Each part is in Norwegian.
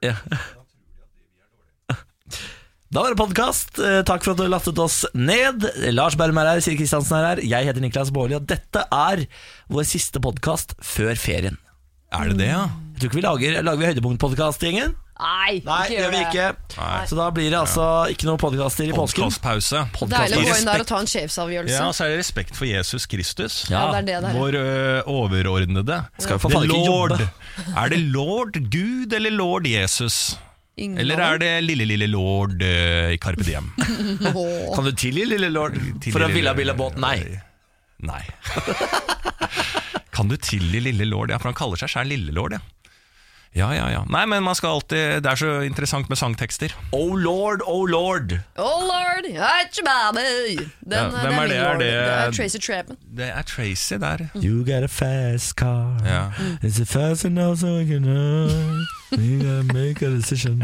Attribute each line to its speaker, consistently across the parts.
Speaker 1: Ja. Da var det podkast. Takk for at du lastet oss ned. Lars Berrum er her, Siri Kristiansen er her. Jeg heter Niklas Baarli, og dette er vår siste podkast før ferien.
Speaker 2: Er det det, ja?
Speaker 1: Jeg tror ikke vi lager, lager vi høydepunktpodkast, gjengen.
Speaker 3: Nei,
Speaker 1: Nei,
Speaker 3: ikke
Speaker 1: det
Speaker 3: gjør
Speaker 1: gjør vi
Speaker 3: det.
Speaker 1: ikke.
Speaker 2: Nei.
Speaker 1: Så da blir det altså ikke noen podkaster i påsken.
Speaker 2: Podkastpause.
Speaker 3: Deilig å
Speaker 1: Podcast.
Speaker 3: gå inn der og ta en sjefsavgjørelse.
Speaker 2: Ja, så er det respekt for Jesus Kristus.
Speaker 3: Ja, det er det det er.
Speaker 2: Vår ø, overordnede.
Speaker 1: Skal jo for
Speaker 2: The
Speaker 1: faen ikke
Speaker 2: Lord.
Speaker 1: jobbe.
Speaker 2: Er det lord Gud eller lord Jesus?
Speaker 3: Ingen
Speaker 2: Eller
Speaker 3: av
Speaker 2: er det lille, lille lord ø, i Carpe Diem?
Speaker 3: dem. Åh.
Speaker 1: Kan du tilgi lille lord
Speaker 2: Tilgi
Speaker 1: for en
Speaker 2: lille-
Speaker 1: villa-billa-båt? Nei.
Speaker 2: Nei. kan du tilgi lille lord? Ja, for han kaller seg sjøl lille lord, ja. Ja, ja, ja. Nei, men man skal alltid Det er så interessant med sangtekster.
Speaker 1: Oh lord, oh lord.
Speaker 3: Oh lord, it's your baby. Den, eh,
Speaker 2: Ja, hvem er
Speaker 3: min
Speaker 2: det? Er
Speaker 3: lord.
Speaker 2: det-
Speaker 3: er Tracy Chapman.
Speaker 2: Det er Tracy der.
Speaker 1: You got a fast car.
Speaker 2: Ja.
Speaker 1: It's a fast enough so we can run. We gotta make a decision.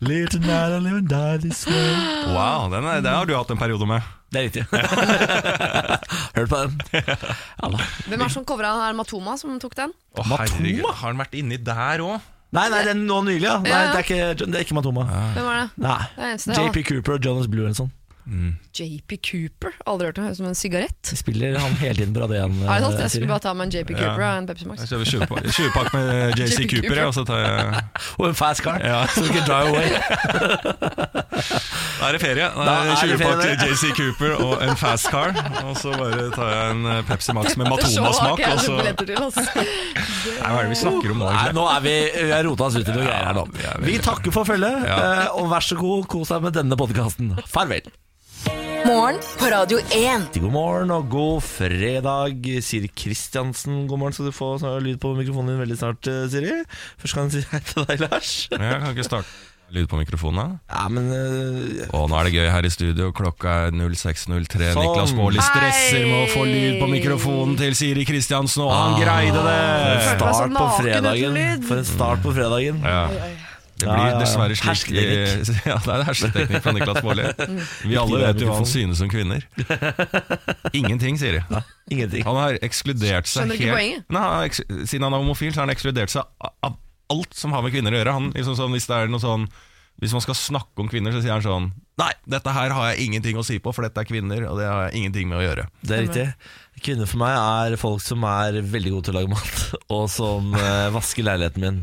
Speaker 1: Live tonight or live and die this way.
Speaker 2: Wow, den, er, den har du hatt en periode med.
Speaker 1: Det er riktig. Hørte på den. Ja, da.
Speaker 3: Hvem er det som covra han her Matoma som tok den?
Speaker 2: Å, herregud,
Speaker 1: Matoma?
Speaker 2: Har han vært inni der òg?
Speaker 1: Nei, nei, den nå nylig, ja. Nei, det er ikke, det er ikke Matoma.
Speaker 3: Hvem var det?
Speaker 1: Nei.
Speaker 3: Det er eneste jeg har.
Speaker 1: JP Cooper og Jonas Blue og sånn.
Speaker 2: Mm.
Speaker 3: JP Cooper. Aldri hørt om høres ut som en sigarett.
Speaker 1: De spiller han hele tiden på radioen.
Speaker 3: Er det sant?
Speaker 1: eh,
Speaker 3: Jeg skulle
Speaker 1: Siri.
Speaker 3: bare ta meg en JP Cooper og en Pepsi Max.
Speaker 2: Jeg kjøper 20 pakk- 20 pakk med JC
Speaker 3: Cooper.
Speaker 2: Cooper, jeg, og så tar jeg
Speaker 1: Og en fast car,
Speaker 2: Ja.
Speaker 1: så du kan drive away.
Speaker 2: Da er det ferie. Da
Speaker 1: Da
Speaker 2: er
Speaker 1: er
Speaker 2: det
Speaker 1: det
Speaker 2: 20 pakk
Speaker 1: ferie.
Speaker 2: JC Cooper og en Fast Car. Og så bare tar jeg en eh, Pepsi Max med
Speaker 3: Dette showet har
Speaker 2: Matona-smak.
Speaker 3: ikke jeg
Speaker 2: Og så
Speaker 3: noen billetter til, altså.
Speaker 2: Nei, hva er det vi snakker om nå,
Speaker 1: Nei,
Speaker 2: egentlig?
Speaker 1: nå er vi, vi har rota oss ut i noen greier her nå.
Speaker 2: vi er veldig-
Speaker 1: Vi takker for følget,
Speaker 2: Ja.
Speaker 1: eh, og vær så god, kos deg med denne podkasten. Farvel.
Speaker 4: Morgen på Radio 1.
Speaker 1: God morgen og god fredag, Siri Kristiansen. God morgen skal du få snart lyd på mikrofonen din veldig snart, eh, Siri. Først kan jeg si hei til deg, Lars.
Speaker 2: Jeg kan ikke starte lyd på mikrofonen. da.
Speaker 1: Ja, men eh,
Speaker 2: Og nå er det gøy her i studio. Klokka er 06.03.
Speaker 1: Sånn.
Speaker 2: Niklas Baarli stresser med å få lyd på mikrofonen til Siri Kristiansen, og han greide det!
Speaker 3: følte meg så
Speaker 1: Ah, start på
Speaker 3: naken uten
Speaker 1: fredagen.
Speaker 3: lyd.
Speaker 1: For en start på fredagen.
Speaker 2: Ja. Det
Speaker 1: Ja, ja,
Speaker 2: blir
Speaker 1: ja.
Speaker 2: dessverre slik
Speaker 1: Hersketeknikk. Mm.
Speaker 2: Ja, det er hersketeknikk fra Niklas Baarli. Vi alle vet jo hva han synes om kvinner. Ingenting, sier de.
Speaker 1: Ingenting.
Speaker 2: Han har ekskludert seg
Speaker 3: Skjønner ikke poenget.
Speaker 2: Nei, han har eks Siden han er homofil, så har han ekskludert seg a- av alt som har med kvinner å gjøre. Han, liksom sånn, hvis, det er noe sånn, hvis man skal snakke om kvinner, så sier han sånn Nei, dette her har jeg ingenting å si på, for dette er kvinner, og det har jeg ingenting med å gjøre.
Speaker 1: Det er riktig. Kvinner for meg er folk som er veldig gode til å lage mat, og som eh, vasker leiligheten min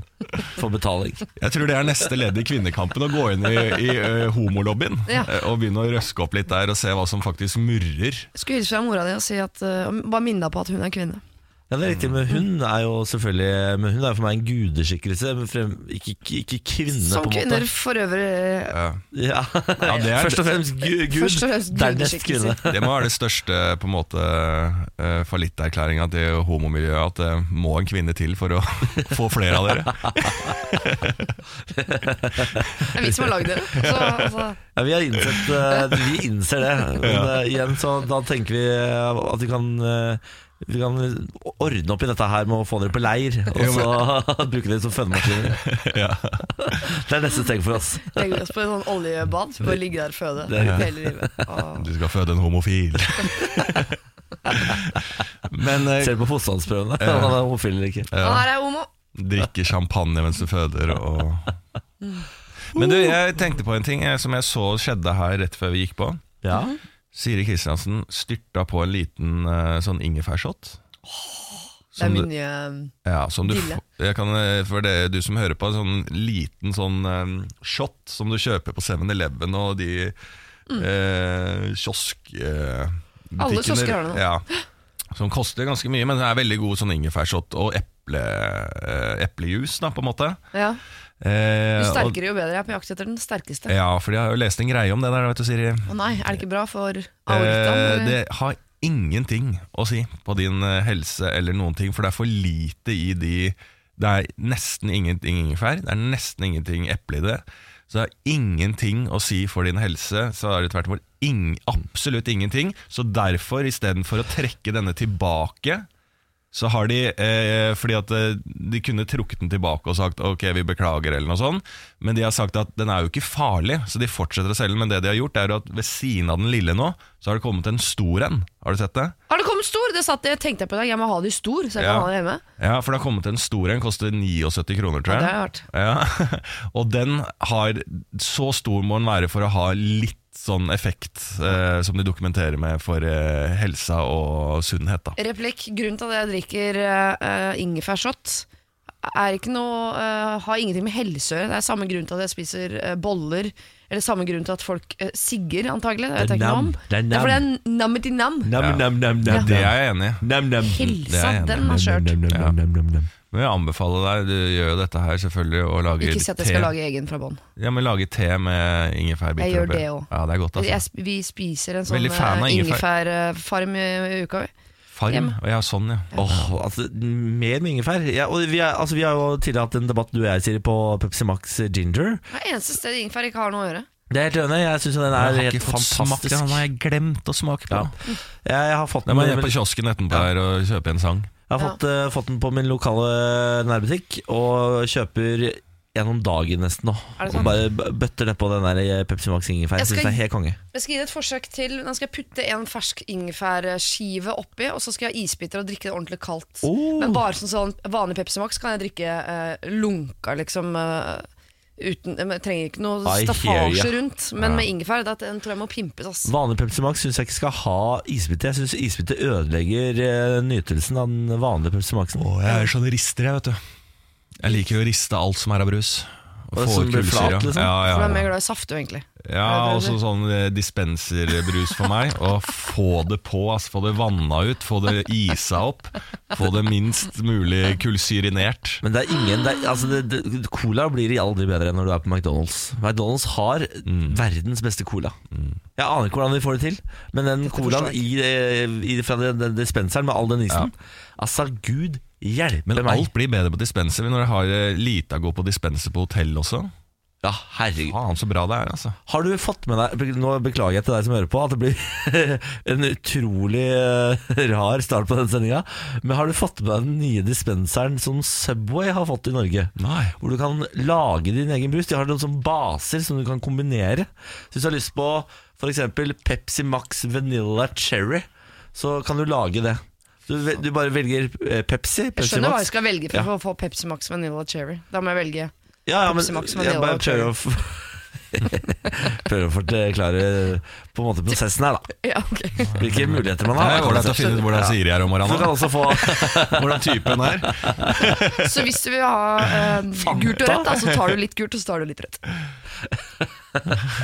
Speaker 1: for betaling.
Speaker 2: Jeg tror det er neste ledd i kvinnekampen, å gå inn i, i ø, homolobbyen
Speaker 3: Ja.
Speaker 2: ø, og begynne å røske opp litt der og se hva som faktisk murrer.
Speaker 3: Jeg skulle hilse fra mora di og si at, eh, bare minne deg på at hun er kvinne.
Speaker 1: Ja, det er riktig, men hun er jo selvfølgelig Men hun er jo for meg en gudeskikkelse, men frem, ikke, ikke, ikke kvinne,
Speaker 3: Som
Speaker 1: på en
Speaker 3: kvinner
Speaker 1: måte.
Speaker 3: for øvrig eh,
Speaker 2: Ja.
Speaker 1: Ja.
Speaker 2: det er-
Speaker 1: Først og fremst gu, gud,
Speaker 3: Først og fremst
Speaker 1: dernest
Speaker 3: gudeskikkelser.
Speaker 1: kvinne.
Speaker 2: Det må være det største på en måte eh, fallitterklæringa til homomiljøet. At det må en kvinne til for å få flere av dere.
Speaker 3: Det er vi som har lagd dere. Så, altså,
Speaker 1: Ja, vi har innsett eh, Vi innser det. Men eh, igjen så da tenker vi eh, at vi kan eh, vi kan ordne opp i dette her med å få dere på leir, og så bruke dere som fødemaskiner.
Speaker 2: Ja.
Speaker 1: Det er neste steg for oss.
Speaker 3: legger oss på en sånn oljebad, så bare ligge der og føde
Speaker 1: Det er-
Speaker 3: hele livet. Åh.
Speaker 2: Du skal føde en homofil. Men eh,
Speaker 1: Ser på fostervannsprøvene. Han er homofil eller ikke.
Speaker 3: Han
Speaker 2: ja,
Speaker 3: her er homo.
Speaker 2: drikke champagne mens du føder og Men du, jeg tenkte på en ting eh, som jeg så skjedde her rett før vi gikk på.
Speaker 1: Ja.
Speaker 2: Siri Kristiansen styrta på en liten eh, sånn ingefærshot.
Speaker 3: Det er
Speaker 2: Som du-
Speaker 3: min nye
Speaker 2: Ja, som du,
Speaker 3: Dille.
Speaker 2: f- jeg kan, eh, for det, du som hører på, en sånn liten sånn eh, shot som du kjøper på 7-Eleven og de eh, kiosk... Eh,
Speaker 3: Mm. Alle
Speaker 2: butikkene-
Speaker 3: kiosker har det nå.
Speaker 2: Ja, som koster ganske mye, men det er veldig god sånn ingefærshot og eple, eh, eplejus, da, på en måte.
Speaker 3: ja.
Speaker 2: Eh,
Speaker 3: Jo
Speaker 2: og,
Speaker 3: sterkere, jo bedre. Jeg er på jakt etter den sterkeste.
Speaker 2: ja, for jeg har jo lest en greie om det der, vet du, Siri.
Speaker 3: Å nei, er det ikke bra for
Speaker 2: Eh,
Speaker 3: aortaen?
Speaker 2: det har ingenting å si på din eh, helse eller noen ting, for det er for lite i de Det er nesten ingenting ingefær, det er nesten ingenting eple i det. Så det har ingenting å si for din helse. Så er det tvert imot ing, absolutt ingenting. Så derfor, istedenfor å trekke denne tilbake, Så har de, eh, fordi at eh, de kunne trukket den tilbake og sagt ok, vi beklager eller noe sånt, men de har sagt at den er jo ikke farlig, så de fortsetter å selge den. Men det de har gjort, er jo at ved siden av den lille nå, så har det kommet en stor en. Har du sett det?
Speaker 3: Har det kommet stor? Det satt, jeg tenkte jeg på i dag. Jeg må ha de stor, så jeg
Speaker 2: Ja.
Speaker 3: kan ha det hjemme.
Speaker 2: Ja, for det har kommet en stor en, koster 79 kroner, tror
Speaker 3: Ja,
Speaker 2: jeg.
Speaker 3: det har jeg hørt.
Speaker 2: Ja. Og den har Så stor må den være for å ha litt sånn effekt eh, som de dokumenterer med for eh, helsa og sunnhet, da.
Speaker 3: Replikk. Grunnen til at jeg drikker uh, ingefærshot, er ikke noe, eh, har ingenting med helse å gjøre. Det er samme grunn til at jeg spiser eh, boller, eller samme grunn til at folk eh, sigger, antagelig. Det vet
Speaker 1: Det er
Speaker 3: jeg ikke noe
Speaker 1: nam.
Speaker 3: om.
Speaker 1: Det er nam.
Speaker 3: Det er fordi det er nammet i nam.
Speaker 1: Nam,
Speaker 2: Ja.
Speaker 1: nam, nam, nam,
Speaker 2: Det
Speaker 1: nam.
Speaker 2: er jeg enig i.
Speaker 1: Nam, nam.
Speaker 2: Det er
Speaker 3: Helsa,
Speaker 2: jeg enig
Speaker 3: den er skjørt.
Speaker 1: Nam, nam, nam, nam, nam, nam.
Speaker 2: Men jeg anbefaler deg, du gjør jo dette her selvfølgelig, og lager
Speaker 3: Ikke si at jeg
Speaker 2: te.
Speaker 3: skal lage egen fra bånn.
Speaker 2: Ja, men lage te med ingefærbiter.
Speaker 3: Jeg gjør
Speaker 2: oppi.
Speaker 3: det også.
Speaker 2: Ja, det er godt,
Speaker 3: Jeg
Speaker 2: altså.
Speaker 3: sp- Vi spiser en sånn
Speaker 2: Veldig fan av
Speaker 3: eh,
Speaker 2: ingefær.
Speaker 3: ingefærfarm i i uka. vi.
Speaker 2: Farm.
Speaker 3: Hjemme.
Speaker 2: Og ja, sånn, ja.
Speaker 1: Åh, altså, mer med ingefær. Ja, og vi, er, altså, vi har jo tidligere hatt en debatt du og jeg sier på Pepsi Max Ginger.
Speaker 3: Det er eneste stedet ingefær ikke har noe å gjøre.
Speaker 1: Det er helt enig. Jeg syns den er
Speaker 2: Jeg har
Speaker 1: helt
Speaker 2: ikke fått smakt
Speaker 1: fantastisk.
Speaker 2: den, den har jeg glemt å smake på.
Speaker 1: Ja. Jeg, jeg har fått
Speaker 2: Da
Speaker 1: den,
Speaker 2: må jeg
Speaker 1: men-
Speaker 2: ned på kiosken etterpå her og kjøpe en sang.
Speaker 1: Jeg har
Speaker 3: Ja.
Speaker 1: fått, eh, fått den på min lokale nærbutikk og kjøper gjennom dagen nesten nå.
Speaker 3: Er det
Speaker 1: Og
Speaker 3: sant?
Speaker 1: bare b- bøtter nedpå den der eh, Pepsi Max ingefær. Jeg
Speaker 3: Jeg
Speaker 1: syns
Speaker 3: skal
Speaker 1: det er helt konge.
Speaker 3: Jeg skal gi det et forsøk til. Nå skal jeg putte en fersk ingefærskive oppi, og så skal jeg ha isbiter og drikke det ordentlig kaldt.
Speaker 1: Oh.
Speaker 3: Men bare som sånn vanlig Pepsi Max kan jeg drikke eh, lunka, liksom. eh, uten, jeg trenger ikke noe
Speaker 1: I hear ya.
Speaker 3: staffasje rundt. Men med ingefær da, den tror jeg må pimpes. ass
Speaker 1: Vanlig Pepsi Max syns jeg ikke skal ha isbite. Jeg syns isbite ødelegger eh, nytelsen av den vanlige Pepsi Maxen.
Speaker 2: Å, jeg er sånn rister, jeg, vet du. Jeg liker jo å riste alt som er av brus. Og
Speaker 1: Og
Speaker 2: få
Speaker 1: som
Speaker 2: ut
Speaker 1: blir flat,
Speaker 2: kullsyra.
Speaker 1: liksom?
Speaker 2: Ja,
Speaker 3: For du
Speaker 2: ja,
Speaker 3: er mer
Speaker 2: ja.
Speaker 3: glad i saft, du, egentlig.
Speaker 2: ja også sånn eh, dispenserbrus for meg. Og få det på, altså. Få det vanna ut, få det isa opp. Få det minst mulig kullsyrinert.
Speaker 1: Men det er ingen det er, altså det, det, Cola blir aldri bedre enn når du er på McDonald's. McDonald's har verdens beste cola. Jeg aner ikke hvordan de får det til, men den colaen
Speaker 3: forstår jeg
Speaker 1: i, i, fra den, den dispenseren med all den isen Altså, gud hjelpe
Speaker 2: Men
Speaker 1: meg.
Speaker 2: alt blir bedre på dispenser når jeg har eh, lita gå på dispenser på hotell også.
Speaker 1: Ja, herregud.
Speaker 2: Faen, så bra det er, altså.
Speaker 1: Har du fått med deg be- Nå beklager jeg til deg som hører på at det blir en utrolig eh, rar start på den sendinga, men har du fått med deg den nye dispenseren som Subway har fått i Norge?
Speaker 2: Nei.
Speaker 1: hvor du kan lage din egen brus. De har noen sånne baser som du kan kombinere. Så hvis du har lyst på f.eks. Pepsi Max Vanilla Cherry, så kan du lage det. Du, ve- du bare velger eh, Pepsi.
Speaker 3: Jeg
Speaker 1: Pepsi
Speaker 3: skjønner hva jeg
Speaker 1: Max.
Speaker 3: skal velge for å få Pepsi Max Vanilla Cherry. Da må jeg velge
Speaker 1: Ja, ja, men
Speaker 3: Pepsi Max
Speaker 1: jeg
Speaker 3: Vanilla
Speaker 1: bare prøver å f- Prøver å forklare eh, på en måte prosessen her, da.
Speaker 3: Ja, ok
Speaker 1: Hvilke muligheter man
Speaker 2: Det er
Speaker 1: har.
Speaker 2: ålreit å finne ut hvordan Siri er
Speaker 1: Du
Speaker 2: om
Speaker 1: kan
Speaker 2: morgenen.
Speaker 1: også få
Speaker 2: Hvordan typen er.
Speaker 3: Så hvis du vil ha eh, gult og rødt, da, så tar du litt gult, og så tar du litt rødt.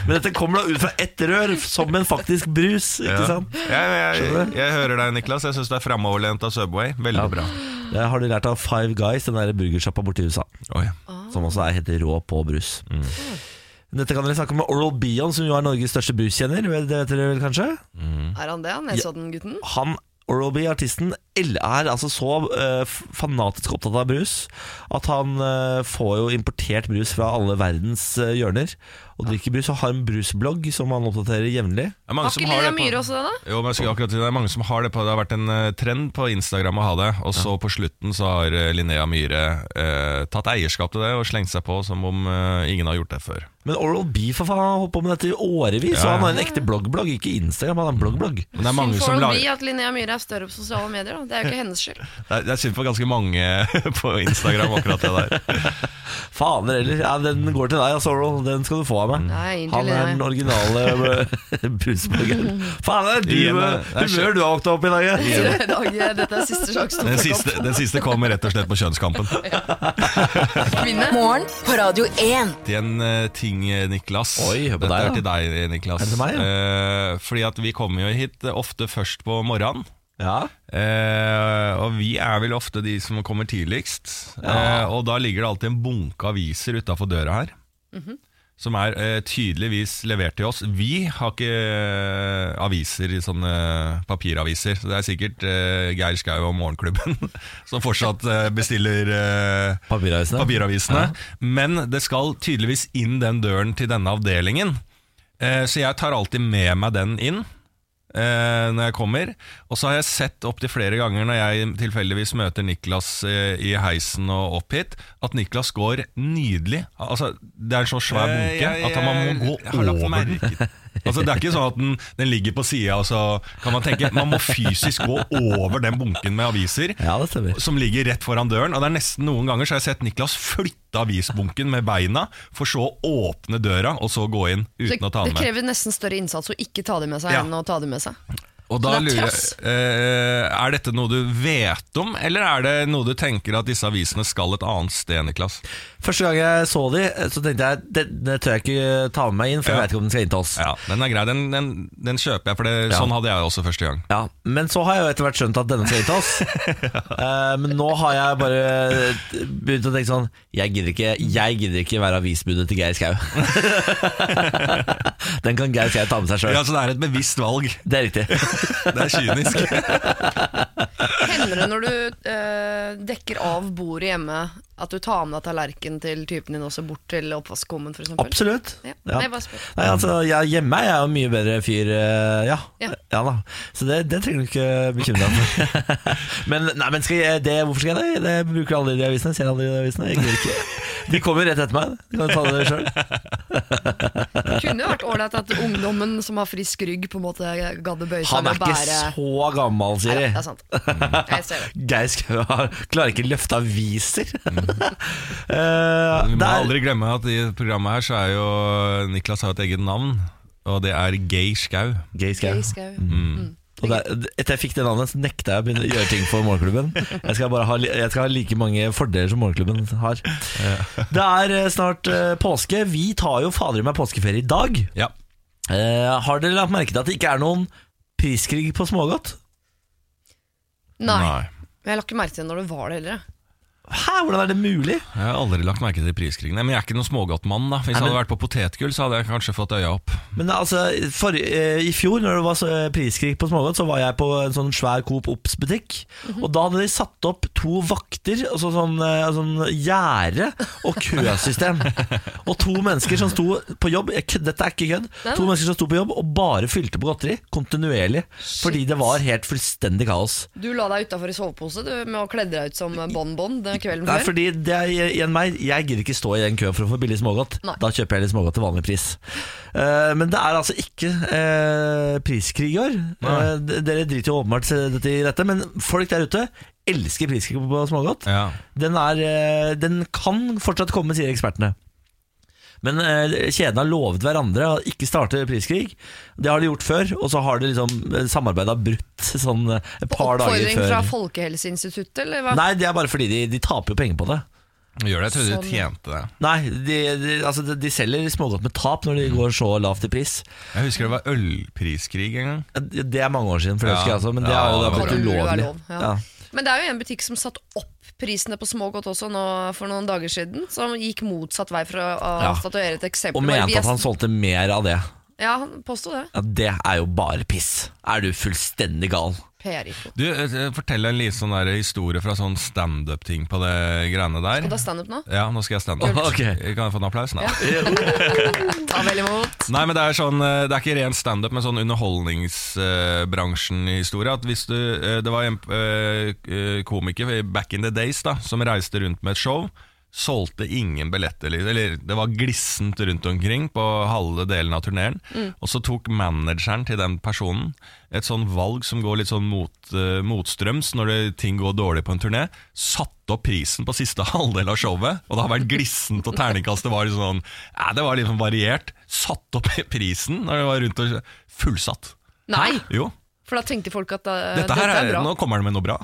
Speaker 1: Men dette kommer da ut fra ett rør, som en faktisk brus, ikke
Speaker 2: Ja.
Speaker 1: sant?
Speaker 2: Jeg, jeg,
Speaker 1: Skjønner du?
Speaker 2: jeg hører deg, Niklas. Jeg syns det er framoverlent av Subway. Veldig bra.
Speaker 1: Det har de lært av Five Guys, den der burgersjappa borti USA.
Speaker 2: Oi.
Speaker 1: Som også er helt rå på brus. Dette kan dere snakke om med Oral Bion, som jo er Norges største bruskjenner. vet- Det vet dere vel kanskje?
Speaker 2: Mm.
Speaker 3: Er han det, han Nesodden-gutten?
Speaker 1: Han, Oral B, artisten, el- er altså så eh, f- fanatisk opptatt av brus at han eh, får jo importert brus fra alle verdens eh, hjørner. Og drikker brus, og har en brusblogg som han oppdaterer jevnlig.
Speaker 2: Det er mange
Speaker 3: Har
Speaker 2: som
Speaker 3: ikke
Speaker 2: har
Speaker 3: Lydia
Speaker 2: det på-
Speaker 3: Myhre også det, da?
Speaker 2: Jo, men jeg skulle akkurat si Det Det er mange som har det på Det har vært en eh, trend på Instagram å ha det, og så på slutten så har eh, Linnea Myhre eh, tatt eierskap til det og slengt seg på som om eh, ingen har gjort det før.
Speaker 1: Men Oral B for faen, han har holdt på med dette i årevis,
Speaker 2: Ja.
Speaker 1: og han har en ekte bloggblogg. Ikke Instagram, han har en bloggblogg.
Speaker 2: Men det er mange
Speaker 3: Synd
Speaker 2: som
Speaker 3: for
Speaker 2: lager
Speaker 3: Oral-B at Linnea Myhre er større på sosiale medier. Da. Det er jo ikke hennes skyld.
Speaker 2: Det er- det er synd for ganske mange på Instagram, akkurat det der.
Speaker 1: Fader heller. Ja, den går til deg, altså, Oral. Den skal du få av meg.
Speaker 3: Nei, egentlig
Speaker 1: Han er den
Speaker 3: nei.
Speaker 1: originale brusbloggeren. Faen, det er du,
Speaker 2: Igjen,
Speaker 1: eh,
Speaker 2: det er
Speaker 1: humør du har våkna opp i dag. eh.
Speaker 3: Så i dag, eh, Dette er siste sjanse til
Speaker 2: Den
Speaker 3: å
Speaker 2: siste,
Speaker 3: fucke
Speaker 2: den siste kommer rett og slett på kjønnskampen.
Speaker 3: opp kvinne.
Speaker 4: Morgen på Radio 1.
Speaker 2: til en eh, ting, eh, Niklas.
Speaker 1: Oi, hør på
Speaker 2: Dette
Speaker 1: deg,
Speaker 2: er til deg, Niklas.
Speaker 1: Er det til meg, ja?
Speaker 2: Eh, fordi at vi kommer jo hit eh, ofte først på morgenen.
Speaker 1: Ja.
Speaker 2: Eh, og vi er vel ofte de som kommer tidligst. Eh, og da ligger det alltid en bunke aviser utafor døra her. Som er eh, tydeligvis levert til oss. Vi har ikke eh, aviser i sånne papiraviser. Så det er sikkert eh, Geir Skau og Morgenklubben som fortsatt eh, bestiller eh,
Speaker 1: Papiravisene.
Speaker 2: papiravisene. Men det skal tydeligvis inn den døren til denne avdelingen. Eh, Så jeg tar alltid med meg den inn. eh, når jeg kommer. Og så har jeg sett opptil flere ganger når jeg tilfeldigvis møter Niklas eh, i heisen og opp hit, at Niklas går nydelig. Altså, det er en så svær
Speaker 5: Eh,
Speaker 2: bunke
Speaker 5: jeg-
Speaker 2: at man må
Speaker 5: jeg
Speaker 2: gå
Speaker 5: har lagt
Speaker 2: over den.
Speaker 5: merke
Speaker 2: Altså, det er ikke sånn at den, den ligger på sida, og så kan man tenke Man må fysisk gå over den bunken med aviser
Speaker 1: Ja, det stemmer.
Speaker 2: som ligger rett foran døren. Og det er nesten Noen ganger så har jeg sett Niklas flytte avisbunken med beina, for så å åpne døra og så gå inn
Speaker 3: Så
Speaker 2: uten å ta
Speaker 3: det
Speaker 2: den med.
Speaker 3: krever nesten større innsats å ikke ta det med seg
Speaker 2: Ja.
Speaker 3: enn å ta det med seg.
Speaker 2: Og da
Speaker 3: Så det er
Speaker 2: lurer jeg,
Speaker 3: sånn trass.
Speaker 2: eh, Er dette noe du vet om, eller er det noe du tenker at disse avisene skal et annet sted, Niklas?
Speaker 1: Første gang jeg så de, eh, så tenkte jeg denne tør jeg ikke ta med meg inn, for jeg
Speaker 2: Ja.
Speaker 1: vet ikke om den skal inn til oss.
Speaker 2: Ja, Den er grei, den, den, den kjøper jeg, for det,
Speaker 1: Ja.
Speaker 2: sånn hadde jeg også første gang.
Speaker 1: Ja, Men så har jeg jo etter hvert skjønt at denne skal inn til oss. Eh, men nå har jeg bare eh, begynt å tenke sånn Jeg gidder ikke, jeg gidder ikke være avisbudet til Geir Skau. den kan Geir Skau ta med seg sjøl.
Speaker 2: Ja, Så det er et bevisst valg.
Speaker 1: Det er riktig.
Speaker 2: Det er kynisk.
Speaker 3: Hender det når du eh, dekker av bordet hjemme, at du tar med deg tallerken til typen din også bort til oppvaskkummen, f.eks.?
Speaker 1: Absolutt.
Speaker 3: Ja.
Speaker 1: Ja.
Speaker 3: Nei, bare spør.
Speaker 1: Nei, altså, jeg, hjemme er jeg jo en mye bedre fyr, eh, ja.
Speaker 3: Ja.
Speaker 1: ja. da. Så det, det trenger du ikke bekymre deg for. men nei, men skal jeg, det, hvorfor skal jeg det? Det bruker alle de avisene. Ser alle de avisene. Jeg gidder ikke. De kommer rett etter meg. Du kan ta det sjøl.
Speaker 3: Det kunne jo vært ålreit at ungdommen som har frisk rygg, på en måte gadd å bøye seg
Speaker 1: Han
Speaker 3: med
Speaker 1: er
Speaker 3: å
Speaker 1: ikke
Speaker 3: bære
Speaker 1: så gammel,
Speaker 3: Nei, altså-
Speaker 1: sier
Speaker 3: det
Speaker 1: de.
Speaker 3: er sant. Jeg ser det.
Speaker 1: Geir Skau har- klarer ikke løfte aviser.
Speaker 3: Mm.
Speaker 1: Eh,
Speaker 2: Vi må
Speaker 1: der-
Speaker 2: aldri glemme at i programmet her så er jo Niklas har et eget navn, og det er Geir Skau. Mm.
Speaker 1: Geir Skau.
Speaker 3: Gøy skau.
Speaker 1: Og der, etter jeg fikk det navnet, så nekta jeg å begynne å gjøre ting for morgenklubben. Jeg skal, bare ha, li- jeg skal ha like mange fordeler som morgenklubben har. Det er eh, snart eh, påske. Vi tar jo fader i meg påskeferie i dag.
Speaker 2: Ja.
Speaker 1: Eh, har dere lagt merke til at det ikke er noen priskrig på smågodt?
Speaker 3: Nei. Jeg la ikke merke til det når du var det heller. jeg.
Speaker 1: Hæ, hvordan er det mulig?
Speaker 2: Jeg har aldri lagt merke til priskrigen. Nei, Men jeg er ikke noen smågodtmann. da Hvis
Speaker 1: Nei,
Speaker 2: jeg
Speaker 1: men-
Speaker 2: hadde vært på potetgull, så hadde jeg kanskje fått øya opp.
Speaker 1: Men altså, for, eh, I fjor når det var så, eh, priskrig på smågodt, så var jeg på en sånn svær Coop Ops-butikk. Og Da hadde de satt opp to vakter, og så sånn, eh, sånn gjerde og køsystem. og to mennesker som sto på jobb jeg, kødd- Dette er ikke kødd.
Speaker 3: Nei,
Speaker 1: To
Speaker 3: nei.
Speaker 1: mennesker som sto på jobb og bare fylte på godteri kontinuerlig. Fordi det var helt fullstendig kaos.
Speaker 3: Du la deg utafor i sovepose du, med å kledde deg ut som bonbon den kvelden
Speaker 1: Nei,
Speaker 3: før.
Speaker 1: fordi det er igjen meg Jeg gidder ikke stå i den køen for å få billig smågodt
Speaker 3: Nei.
Speaker 1: Da kjøper jeg litt smågodt til vanlig pris Eh, Men det er altså ikke eh, priskrig i år
Speaker 2: Nei.
Speaker 1: Eh, d- Dere driter jo åpenbart i dette, i dette Men folk der ute elsker priskrig på smågodt
Speaker 2: Ja.
Speaker 1: den, er, eh, den kan fortsatt komme, sier ekspertene men eh, kjedene har lovet hverandre å ikke starte priskrig. Det har de gjort før, og så har de liksom eh, samarbeidet brutt sånn eh, et par dager
Speaker 3: Oppfordring
Speaker 1: før.
Speaker 3: fra Folkehelseinstituttet, eller hva?
Speaker 1: Nei, det er bare fordi de, de taper jo penger på det.
Speaker 2: Gjør det, jeg trodde
Speaker 3: Sånn.
Speaker 2: du tjente det.
Speaker 1: Nei, de, de, altså de, de selger smågodt med tap når de går så lavt i pris.
Speaker 2: Jeg husker det var ølpriskrig en gang.
Speaker 1: Det er mange år siden, for det
Speaker 2: Ja.
Speaker 1: husker jeg altså, men det
Speaker 2: Ja,
Speaker 1: er jo da
Speaker 2: det
Speaker 1: blitt
Speaker 2: var
Speaker 3: det. Kan umulig
Speaker 1: ulovlig.
Speaker 3: være lov, ja. Men det er jo en butikk som satte opp prisene på smågodt også nå, for noen dager siden. Som gikk motsatt vei for å å
Speaker 1: Ja.
Speaker 3: statuere et eksempel.
Speaker 1: Og
Speaker 3: Bare
Speaker 1: mente
Speaker 3: vi
Speaker 1: at han
Speaker 3: er-
Speaker 1: solgte mer av det.
Speaker 3: Ja, han påsto det.
Speaker 1: Ja, det er jo bare piss. Er du fullstendig gal?
Speaker 3: PR-info.
Speaker 2: Du, eh, Fortell en liten sånn der historie fra sånn standup-ting på det greiene der.
Speaker 3: Og da standup nå.
Speaker 2: Ja, nå skal jeg standup.
Speaker 1: Kult. Ok.
Speaker 2: Kan jeg få en applaus? Nei.
Speaker 3: Ta vel imot.
Speaker 2: Nei, men det er, sånn, eh, det er ikke ren standup, men sånn underholdningsbransjen-historie. At hvis du eh, Det var en eh, eh, komiker i back in the days da som reiste rundt med et show. Solgte ingen billetter, eller- eller det var glissent rundt omkring på halve delen av turneen. Og så tok manageren til den personen et sånn valg som går litt sånn mot, eh, motstrøms når det, ting går dårlig på en turné. Satte opp prisen på siste halvdel av showet, og det har vært glissent og terningkastet var litt sånn ja, Det var litt sånn variert. Satte opp prisen når det var rundt og Fullsatt.
Speaker 3: Nei,
Speaker 2: Jo.
Speaker 3: for da tenkte folk at eh,
Speaker 2: Dette her er,
Speaker 3: bra.
Speaker 2: nå kommer det med noe bra.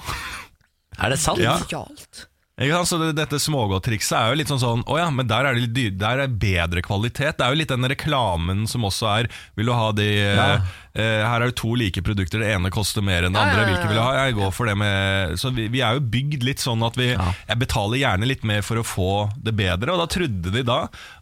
Speaker 1: Er det sant?
Speaker 2: Ja.
Speaker 3: Genialt.
Speaker 2: Ikke sant? Så det, dette smågodttrikset er jo litt sånn sånn Å ja, men der er det litt dyr, der er bedre kvalitet. Det er jo litt den reklamen som også er Vil du ha de eh, eh, Her er det to like produkter, det ene koster mer enn det
Speaker 3: Ja,
Speaker 2: andre.
Speaker 3: ja, ja,
Speaker 2: Hvilke vil du ha? Jeg går for det med Så vi, vi er jo bygd litt sånn at vi Jeg betaler gjerne litt mer for å få det bedre. Og da trodde de da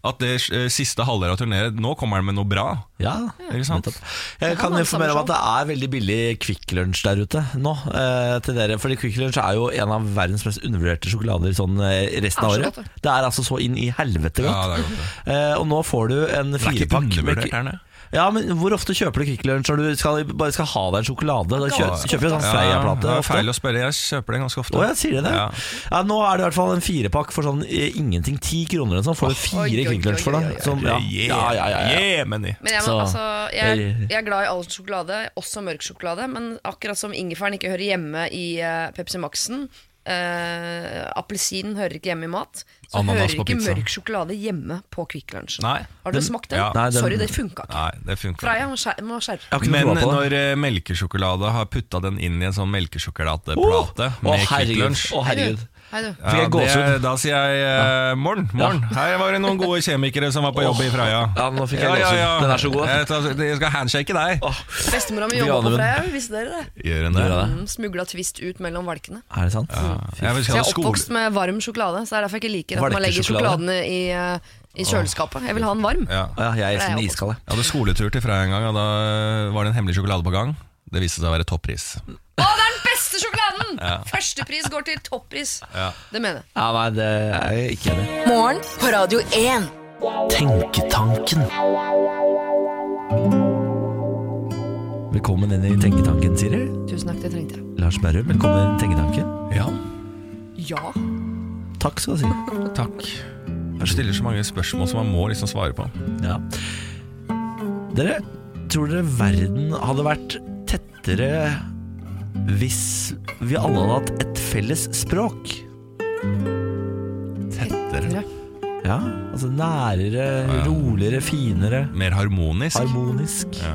Speaker 2: at det eh, siste halvdel av turneret Nå kommer han med noe bra.
Speaker 1: Ja,
Speaker 2: Ikke sant?
Speaker 1: nettopp. Jeg
Speaker 3: Det kan
Speaker 1: kan
Speaker 3: være
Speaker 1: informere om
Speaker 3: samme
Speaker 1: at det er veldig billig Quick Lunch der ute nå. Eh, til dere, fordi Quick Lunch er jo en av verdens mest undervurderte sjokolader sånn eh, resten av
Speaker 3: Er så
Speaker 1: året.
Speaker 3: godt, det.
Speaker 1: Det er altså så inn i helvete godt.
Speaker 2: det er godt.
Speaker 1: Eh, og nå får du en
Speaker 2: Det er ikke
Speaker 1: firepakk med-
Speaker 2: undervurdert her nede.
Speaker 1: Ja, men Hvor ofte kjøper du Kvikk Lunsj når du skal, bare skal ha deg en sjokolade? Da kjø, kjøper du en sånn
Speaker 2: det
Speaker 1: Freia-plate.
Speaker 2: er
Speaker 1: ofte.
Speaker 2: feil å spørre. Jeg kjøper den ganske ofte.
Speaker 1: Å, jeg sier det. Ja.
Speaker 2: Ja.
Speaker 1: nå er det i hvert fall en firepakk for sånn eh, ingenting. Ti kroner eller sånn får du
Speaker 3: Oi,
Speaker 1: fire
Speaker 3: oi,
Speaker 1: Kvikk Lunsj for.
Speaker 3: oi,
Speaker 1: da
Speaker 3: oi, oi.
Speaker 1: Som, ja. Ja, ja, ja, ja.
Speaker 2: Yeah, Manny.
Speaker 3: Men jeg, må,
Speaker 1: Så-
Speaker 3: altså, jeg, jeg er glad i all sjokolade, også mørk sjokolade. Men akkurat som ingefæren ikke hører hjemme i eh, Pepsi Max-en, eh, appelsinen hører ikke hjemme i mat, så
Speaker 2: Ananas
Speaker 3: hører
Speaker 2: på
Speaker 3: ikke
Speaker 2: pizza.
Speaker 3: mørk sjokolade hjemme på Kvikk Lunsjen.
Speaker 2: Nei.
Speaker 3: Har dere
Speaker 1: Den-
Speaker 3: smakt den?
Speaker 2: Ja. Nei,
Speaker 1: den-
Speaker 3: Sorry, det funka ikke.
Speaker 2: Nei, det funker
Speaker 3: Freia må skjer- må skjerpe
Speaker 1: Jeg har
Speaker 3: seg.
Speaker 1: ikke
Speaker 2: Men
Speaker 1: noe tro på det.
Speaker 2: når eh, melkesjokolade har putta den inn i en sånn
Speaker 1: Åh,
Speaker 2: melkesjokoladeplate
Speaker 1: Å,
Speaker 2: med Kvikk
Speaker 1: herregud.
Speaker 2: Lunsj
Speaker 1: Å, herregud.
Speaker 3: Hei, du.
Speaker 1: Fikk jeg
Speaker 2: det-
Speaker 1: gåsehud?
Speaker 2: Da sier jeg eh, morgen. morgen. Her var det noen gode kjemikere som var på jobb i Freia.
Speaker 1: Ja, nå fikk jeg
Speaker 2: Ja, ja,
Speaker 1: gåsehud.
Speaker 2: ja.
Speaker 1: Den er så god.
Speaker 2: Jeg, tar- jeg skal handshake deg.
Speaker 1: Åh,
Speaker 3: Bestemora mi jobba på
Speaker 1: Veganeren.
Speaker 3: Freia, visste dere det?
Speaker 2: Gjør hun det?
Speaker 1: Gjør
Speaker 3: Mm, Smugla Twist ut mellom valkene.
Speaker 1: er det sant? Fy
Speaker 2: Jeg vil
Speaker 3: Så
Speaker 2: ha
Speaker 3: jeg er oppvokst
Speaker 2: skole...
Speaker 3: med varm sjokolade, så det er derfor jeg ikke liker at man legger
Speaker 1: Valkesjokolade.
Speaker 3: sjokoladene i, eh, i kjøleskapet. Jeg vil ha den varm.
Speaker 2: Ja.
Speaker 1: Ja, jeg elsker den
Speaker 3: Freia også.
Speaker 1: iskald. jeg.
Speaker 2: Jeg hadde skoletur til Freia en gang, og da eh, var det en hemmelig sjokolade på gang. Det viste seg å være toppris.
Speaker 3: Å, det er den beste sjokoladen! Førstepris går til toppris.
Speaker 2: Ja.
Speaker 3: Det mener jeg.
Speaker 1: Ja, nei, det er jeg ikke enig i.
Speaker 4: Morgen på Radio 1.
Speaker 1: Tenketanken. Velkommen inn i Tenketanken, Siri.
Speaker 3: Tusen takk, det trengte jeg.
Speaker 1: Lars Berrum, velkommen i Tenketanken.
Speaker 2: ja,
Speaker 3: Ja.
Speaker 1: Takk skal du si.
Speaker 2: takk. Jeg stiller så mange spørsmål som man må liksom svare på.
Speaker 1: Ja. Dere, tror dere verden hadde vært tettere hvis vi alle hadde hatt et felles språk?
Speaker 2: Tettere.
Speaker 1: Ja, altså nærere, roligere, finere,
Speaker 2: Mer harmonisk.
Speaker 1: harmonisk.
Speaker 2: Ja.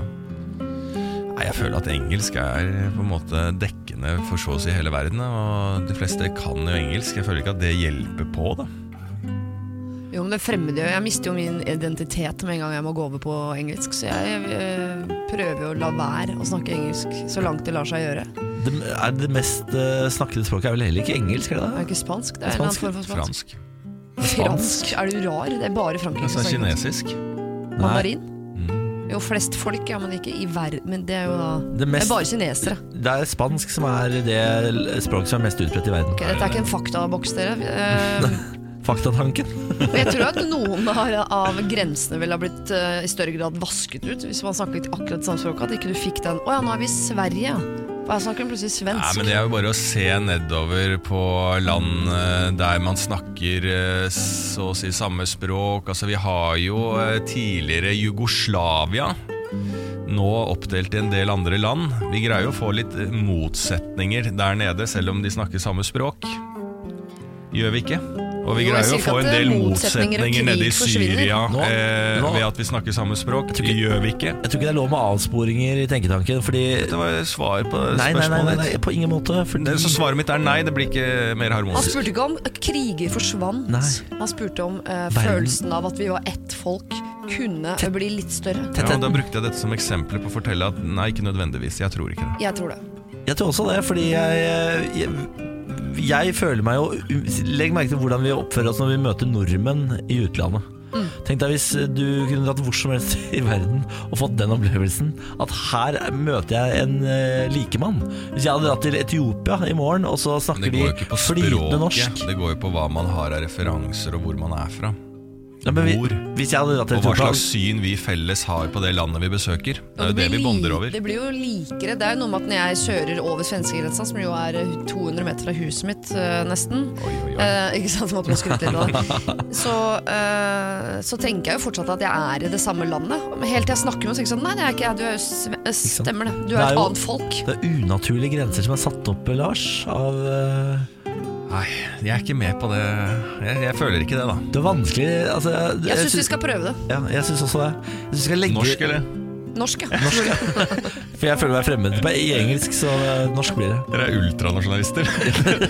Speaker 2: Nei, Jeg føler at engelsk er på en måte dekkende for så å si hele verden. Og de fleste kan jo engelsk. Jeg føler ikke at det hjelper på, da.
Speaker 3: Jo, men det fremmede Jeg mister jo min identitet med en gang jeg må gå over på engelsk, så jeg eh, prøver jo å la være å snakke engelsk så langt det lar seg gjøre. Det
Speaker 1: Det, er det mest eh, snakkede språket er vel heller ikke engelsk, er
Speaker 3: er
Speaker 1: det det?
Speaker 3: jo ikke spansk, det er en
Speaker 1: Spansk.
Speaker 3: eller annen form for spansk.
Speaker 2: Fransk.
Speaker 3: Fransk? Er du rar? Det er bare Frankrike
Speaker 2: Altså
Speaker 3: som snakker fransk.
Speaker 2: kinesisk. Mm.
Speaker 3: Mandarin? Jo, flest folk, ja, men ikke i verden. Men det er jo da
Speaker 1: Det,
Speaker 3: Det er
Speaker 1: mest,
Speaker 3: bare kinesere.
Speaker 1: det er spansk som er det språket som er mest utbredt i verden.
Speaker 3: Ok, dette er ikke en faktaboks, dere. Eh,
Speaker 1: Faktatanken.
Speaker 3: Men jeg tror at noen har, av grensene ville ha blitt eh, i større grad vasket ut hvis man snakket akkurat det samme språket. At ikke du fikk den 'Å ja, nå er vi i Sverige', ja. Og jeg snakker plutselig
Speaker 2: Nei,
Speaker 3: svensk.
Speaker 2: men Det er jo bare å se nedover på land eh, der man snakker eh, så å si samme språk. Altså, vi har jo eh, tidligere Jugoslavia. Nå oppdelt i en del andre land. Vi greier jo å få litt eh, motsetninger der nede, selv om de snakker samme språk. Gjør vi ikke? Og vi
Speaker 3: Jo, jeg
Speaker 2: greier
Speaker 3: sier
Speaker 2: å
Speaker 3: ikke
Speaker 2: få
Speaker 3: at
Speaker 2: en
Speaker 3: det er
Speaker 2: del
Speaker 3: motsetninger og
Speaker 2: motsetninger nede
Speaker 3: krig
Speaker 2: i Syria
Speaker 1: forsvinner. Nå-
Speaker 2: eh,
Speaker 1: nå-
Speaker 2: ved at vi snakker samme språk.
Speaker 1: tror ikke-
Speaker 2: Gjør vi ikke?
Speaker 1: Jeg tror ikke det er lov med avsporinger i tenketanken, fordi
Speaker 2: Det var svar på
Speaker 1: Nei, nei, nei, nei,
Speaker 2: spørsmålet
Speaker 1: nei
Speaker 2: ditt.
Speaker 1: på ingen måte. Fordi
Speaker 2: Det- Så svaret mitt er nei, det blir ikke mer
Speaker 3: Han
Speaker 2: harmonisk.
Speaker 3: spurte ikke om kriger forsvant.
Speaker 1: Nei.
Speaker 3: Han spurte om eh,
Speaker 1: Verden.
Speaker 3: følelsen av at vi var ett folk, kunne bli litt større.
Speaker 2: Ja,
Speaker 1: Tettheten.
Speaker 2: men da brukte jeg dette som eksempel på å fortelle at nei, ikke nødvendigvis. Jeg tror ikke det.
Speaker 3: Jeg tror det.
Speaker 1: Jeg tror også det, fordi jeg, jeg, jeg føler meg jo Legg merke til hvordan vi oppfører oss når vi møter nordmenn i utlandet.
Speaker 3: Mm.
Speaker 1: Tenk deg hvis eh, du kunne dratt hvor som helst i verden og fått den opplevelsen at her møter jeg en eh, likemann. Hvis jeg hadde dratt til Etiopia i morgen, og så snakker de flytende norsk
Speaker 2: det går jo på hva man har av referanser og hvor man er fra.
Speaker 1: ja, men vi,
Speaker 2: Hvor?
Speaker 1: Hvis jeg hadde dratt til
Speaker 2: Og hva
Speaker 1: Etiopia
Speaker 2: slags syn vi felles har på det landet vi besøker. Det er jo det vi
Speaker 3: blir
Speaker 2: bonder
Speaker 3: li-
Speaker 2: over.
Speaker 3: Det blir jo likere. Det er jo noe med at når jeg kjører over svenskegrensa, som jo er eh, 200 meter fra huset mitt, eh, nesten
Speaker 2: Oi, oi, oi.
Speaker 3: Eh, ikke sant, måtte man skryte litt av det. Så, eh, så tenker jeg jo fortsatt at jeg er i det samme landet. Men Helt til jeg snakker med henne, så tenker jeg sånn Nei, det er ikke jeg. Du er jo sve- eh,
Speaker 1: sant?
Speaker 3: Stemmer det.
Speaker 1: Det
Speaker 3: Du er
Speaker 1: er
Speaker 3: et
Speaker 1: jo-
Speaker 3: annet folk.
Speaker 1: Det er unaturlige grenser som er satt opp, Lars. Av, eh,
Speaker 2: Nei, jeg er ikke med på det. Jeg, jeg føler ikke det, da.
Speaker 1: det er vanskelig altså,
Speaker 3: Jeg syns vi skal prøve det.
Speaker 1: ja, jeg synes også det. Jeg synes vi skal legge,
Speaker 2: Norsk, eller?
Speaker 3: Norsk, ja. Norsk.
Speaker 1: For jeg føler meg fremmed på- i engelsk, så eh, norsk blir det.
Speaker 2: Dere er ultranasjonalister.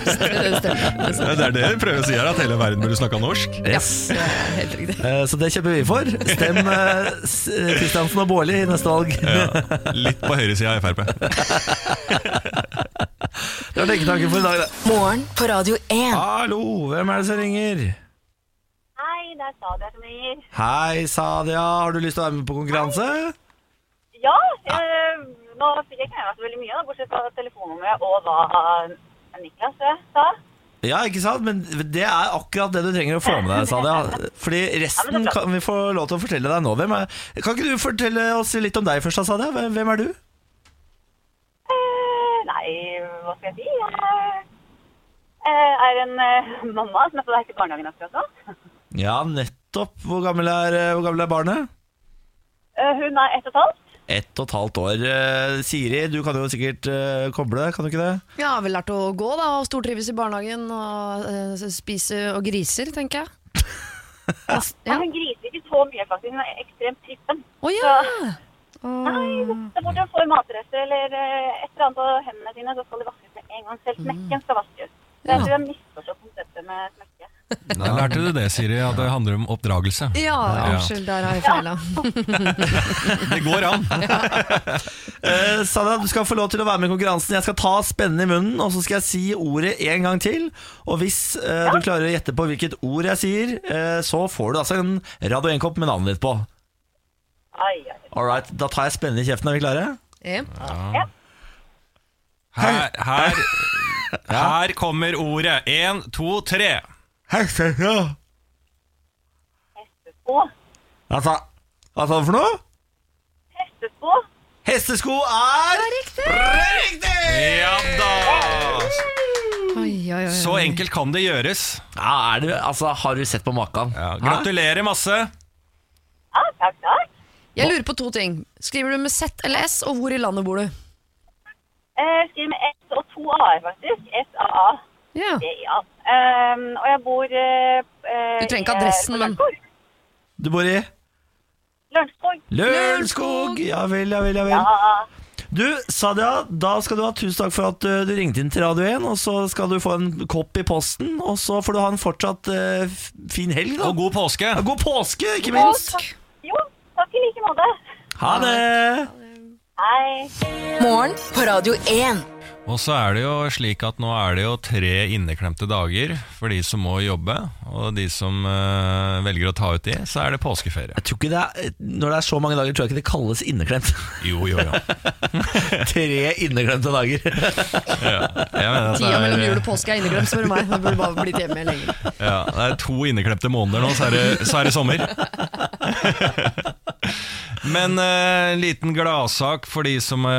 Speaker 3: Stemmer.
Speaker 2: det er det dere prøver å si her, at hele verden burde snakke norsk.
Speaker 1: Yes.
Speaker 3: Ja, helt riktig.
Speaker 1: Eh, Så det kjemper vi for. Stem eh, S- eh, Kristiansen og Baarli i neste valg.
Speaker 2: Ja, litt på høyresida av Frp.
Speaker 1: Det var tenketanken for i dag, det.
Speaker 4: Morgen på Radio 1.
Speaker 1: Hallo, hvem er det som ringer?
Speaker 5: Hei, det er Sadia som ringer.
Speaker 1: Hei, Sadia. Har du lyst til å være med på konkurranse?
Speaker 5: Ja, eh, nå fikk jeg ikke med meg så veldig mye, da, bortsett fra telefonnummeret og hva eh, Niklas eh, sa.
Speaker 1: Ja, ikke sant? Men det er akkurat det du trenger å få med deg, Sadia. Fordi resten kan vi få lov til å fortelle deg nå. Hvem er, kan ikke du fortelle oss litt om deg først, da, Sadia? Hvem- Hvem er du?
Speaker 5: Eh, nei, hva skal jeg si? Jeg eh, er en eh, mamma som er på vei til barnehagen akkurat nå.
Speaker 1: Ja, nettopp. Hvor gammel er, hvor gammel er barnet?
Speaker 5: Eh, hun er ett og et halvt.
Speaker 1: Ett og et halvt år. Eh, Siri, du kan jo sikkert eh, koble, kan du ikke det?
Speaker 3: Jeg har vel lært å gå da, og stortrives i barnehagen og eh, spise og griser, tenker jeg. Altså, ja.
Speaker 5: Hun griser ikke så mye, faktisk. Hun er ekstremt trippen.
Speaker 3: Å ja!
Speaker 5: Nei, så fort hun får matrester eller eh, et eller annet på hendene sine, så skal det vaskes med en gang. Selv smekken skal vaskes. Så jeg tror jeg misforstått konseptet med smekke.
Speaker 2: Der lærte du det, Siri, at det handler om oppdragelse.
Speaker 3: Ja, unnskyld, der har jeg feila.
Speaker 2: Det går an!
Speaker 1: Eh, Sadia, du skal få lov til å være med i konkurransen. Jeg skal ta spennen i munnen, og så skal jeg si ordet en gang til. Og hvis eh, du klarer å gjette på hvilket ord jeg sier, eh, så får du altså en Radio 1-kopp med navnet ditt på.
Speaker 5: Ai, ai, ai.
Speaker 1: All right, da tar jeg spennen i kjeften. Er vi klare?
Speaker 3: Ja.
Speaker 2: Her, her, her kommer ordet. Én, to, tre.
Speaker 5: Hestespå.
Speaker 1: Altså, hva sa du for noe?
Speaker 5: Hestespå.
Speaker 1: Hestesko er riktig! riktig!
Speaker 2: Ja da!
Speaker 3: Oi, oi, oi.
Speaker 2: Så enkelt kan det gjøres.
Speaker 1: Ja, er du, altså, har du sett på makan?
Speaker 2: Ja,
Speaker 1: Hæ?
Speaker 2: gratulerer masse.
Speaker 5: Ja, takk, takk.
Speaker 3: Jeg lurer på to ting. Skriver du med Z eller S, og hvor i landet bor du?
Speaker 5: Eh, skriver med S og to A-er, faktisk. S-A-A.
Speaker 3: Ja.
Speaker 5: Ja. Um, og jeg bor eh, eh,
Speaker 3: Du trenger ikke
Speaker 5: i, eh,
Speaker 3: adressen,
Speaker 5: på
Speaker 3: men-
Speaker 5: Lørenskog.
Speaker 1: Du bor i
Speaker 5: Lørenskog.
Speaker 1: Lørenskog! Ja vel, ja vel, ja vel.
Speaker 5: Ja.
Speaker 1: Du, Sadia, da skal du ha tusen takk for at eh, du ringte inn til Radio 1, og så skal du få en kopp i posten, og så får du ha en fortsatt eh, f- fin helg, da.
Speaker 2: Og god påske.
Speaker 1: Ja, god påske, ikke minst!
Speaker 3: Påsk.
Speaker 5: Jo, takk i like måte.
Speaker 1: Ha det!
Speaker 5: Hei.
Speaker 4: Morgen på Radio 1.
Speaker 2: Og så er det jo slik at nå er det jo tre inneklemte dager for de som må jobbe. Og de som eh, velger å ta ut de, så er det påskeferie.
Speaker 1: Jeg tror ikke det er, Når det er så mange dager, tror jeg ikke det kalles inneklemt.
Speaker 2: Jo, jo, jo.
Speaker 1: Tre inneklemte dager.
Speaker 2: Ja. Jeg mener
Speaker 1: Altså,
Speaker 2: at
Speaker 3: Tida mellom
Speaker 2: det
Speaker 3: jul
Speaker 2: er,
Speaker 3: og påske er inneglemt, spør du meg. Jeg burde bare blitt hjemme lenger.
Speaker 2: ja, det er to inneklemte måneder nå, så er det, så er det sommer. Men eh, en liten gladsak for de som eh,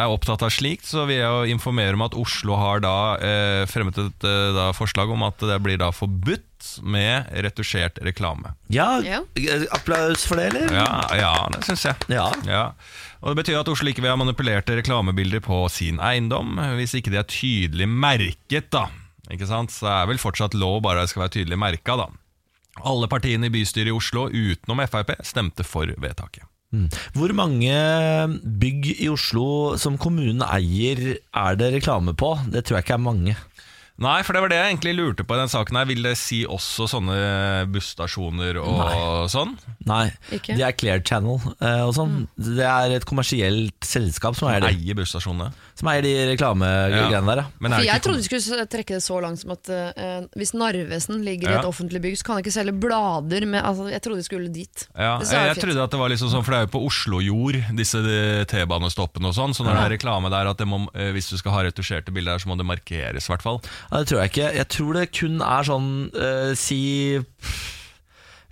Speaker 2: er opptatt av slikt, så vil jeg jo informere om at Oslo har da eh, fremmet et eh, da, forslag om at det blir da forbudt med retusjert reklame.
Speaker 1: Ja,
Speaker 3: Ja.
Speaker 1: eh, applaus for det, eller?
Speaker 2: Ja, ja det syns jeg.
Speaker 1: Ja.
Speaker 2: Ja. Og Det betyr at Oslo ikke vil ha manipulerte reklamebilder på sin eiendom, hvis ikke de er tydelig merket, da. Ikke sant? Så det er vel fortsatt lov, bare det skal være tydelig merka, da. Alle partiene i bystyret i Oslo, utenom Frp, stemte for vedtaket.
Speaker 1: Mm. Hvor mange bygg i Oslo som kommunen eier, er det reklame på? Det tror jeg ikke er mange.
Speaker 2: Nei, for det var det jeg egentlig lurte på i den saken her. Vil det si også sånne busstasjoner og sånn?
Speaker 1: Nei,
Speaker 3: Ikke?
Speaker 1: de er Clear Channel eh, og sånn. Det er et kommersielt selskap som eier det.
Speaker 2: Eie busstasjonene.
Speaker 1: Som eier de reklamegreiene
Speaker 2: Ja.
Speaker 1: der, ja.
Speaker 2: Men er
Speaker 3: For
Speaker 2: det
Speaker 3: jeg
Speaker 2: ikke-
Speaker 3: trodde vi skulle trekke det så langt som at eh, hvis Narvesen ligger i
Speaker 2: Ja.
Speaker 3: et offentlig bygg, så kan jeg ikke selge blader med altså, Jeg trodde vi skulle dit.
Speaker 2: Ja,
Speaker 3: Det
Speaker 2: jeg,
Speaker 3: sa jeg
Speaker 2: jeg
Speaker 3: fint.
Speaker 2: trodde at det var liksom sånn, for det er jo på Oslo-jord, disse eh, T-banestoppene og sånn, så når det er reklame der, at det må, eh, hvis du skal ha retusjerte bilder der, så må det markeres i hvert fall.
Speaker 1: ja. Det tror jeg ikke. Jeg tror det kun er sånn eh, Si